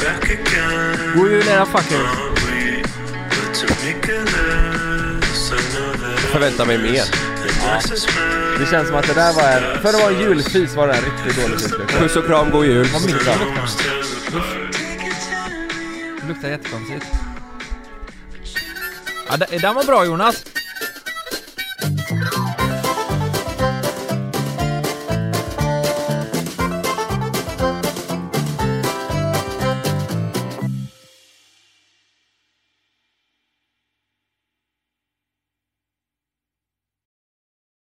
S3: God jul era fuckers!
S2: Jag förväntar mig mer
S4: Det känns som att det där var en, för det var en julfis var det en riktigt dålig julfis
S2: Puss och kram, god jul!
S3: Vad mycket det luktar. Det luktar jättekonstigt. Ja, den den var bra Jonas!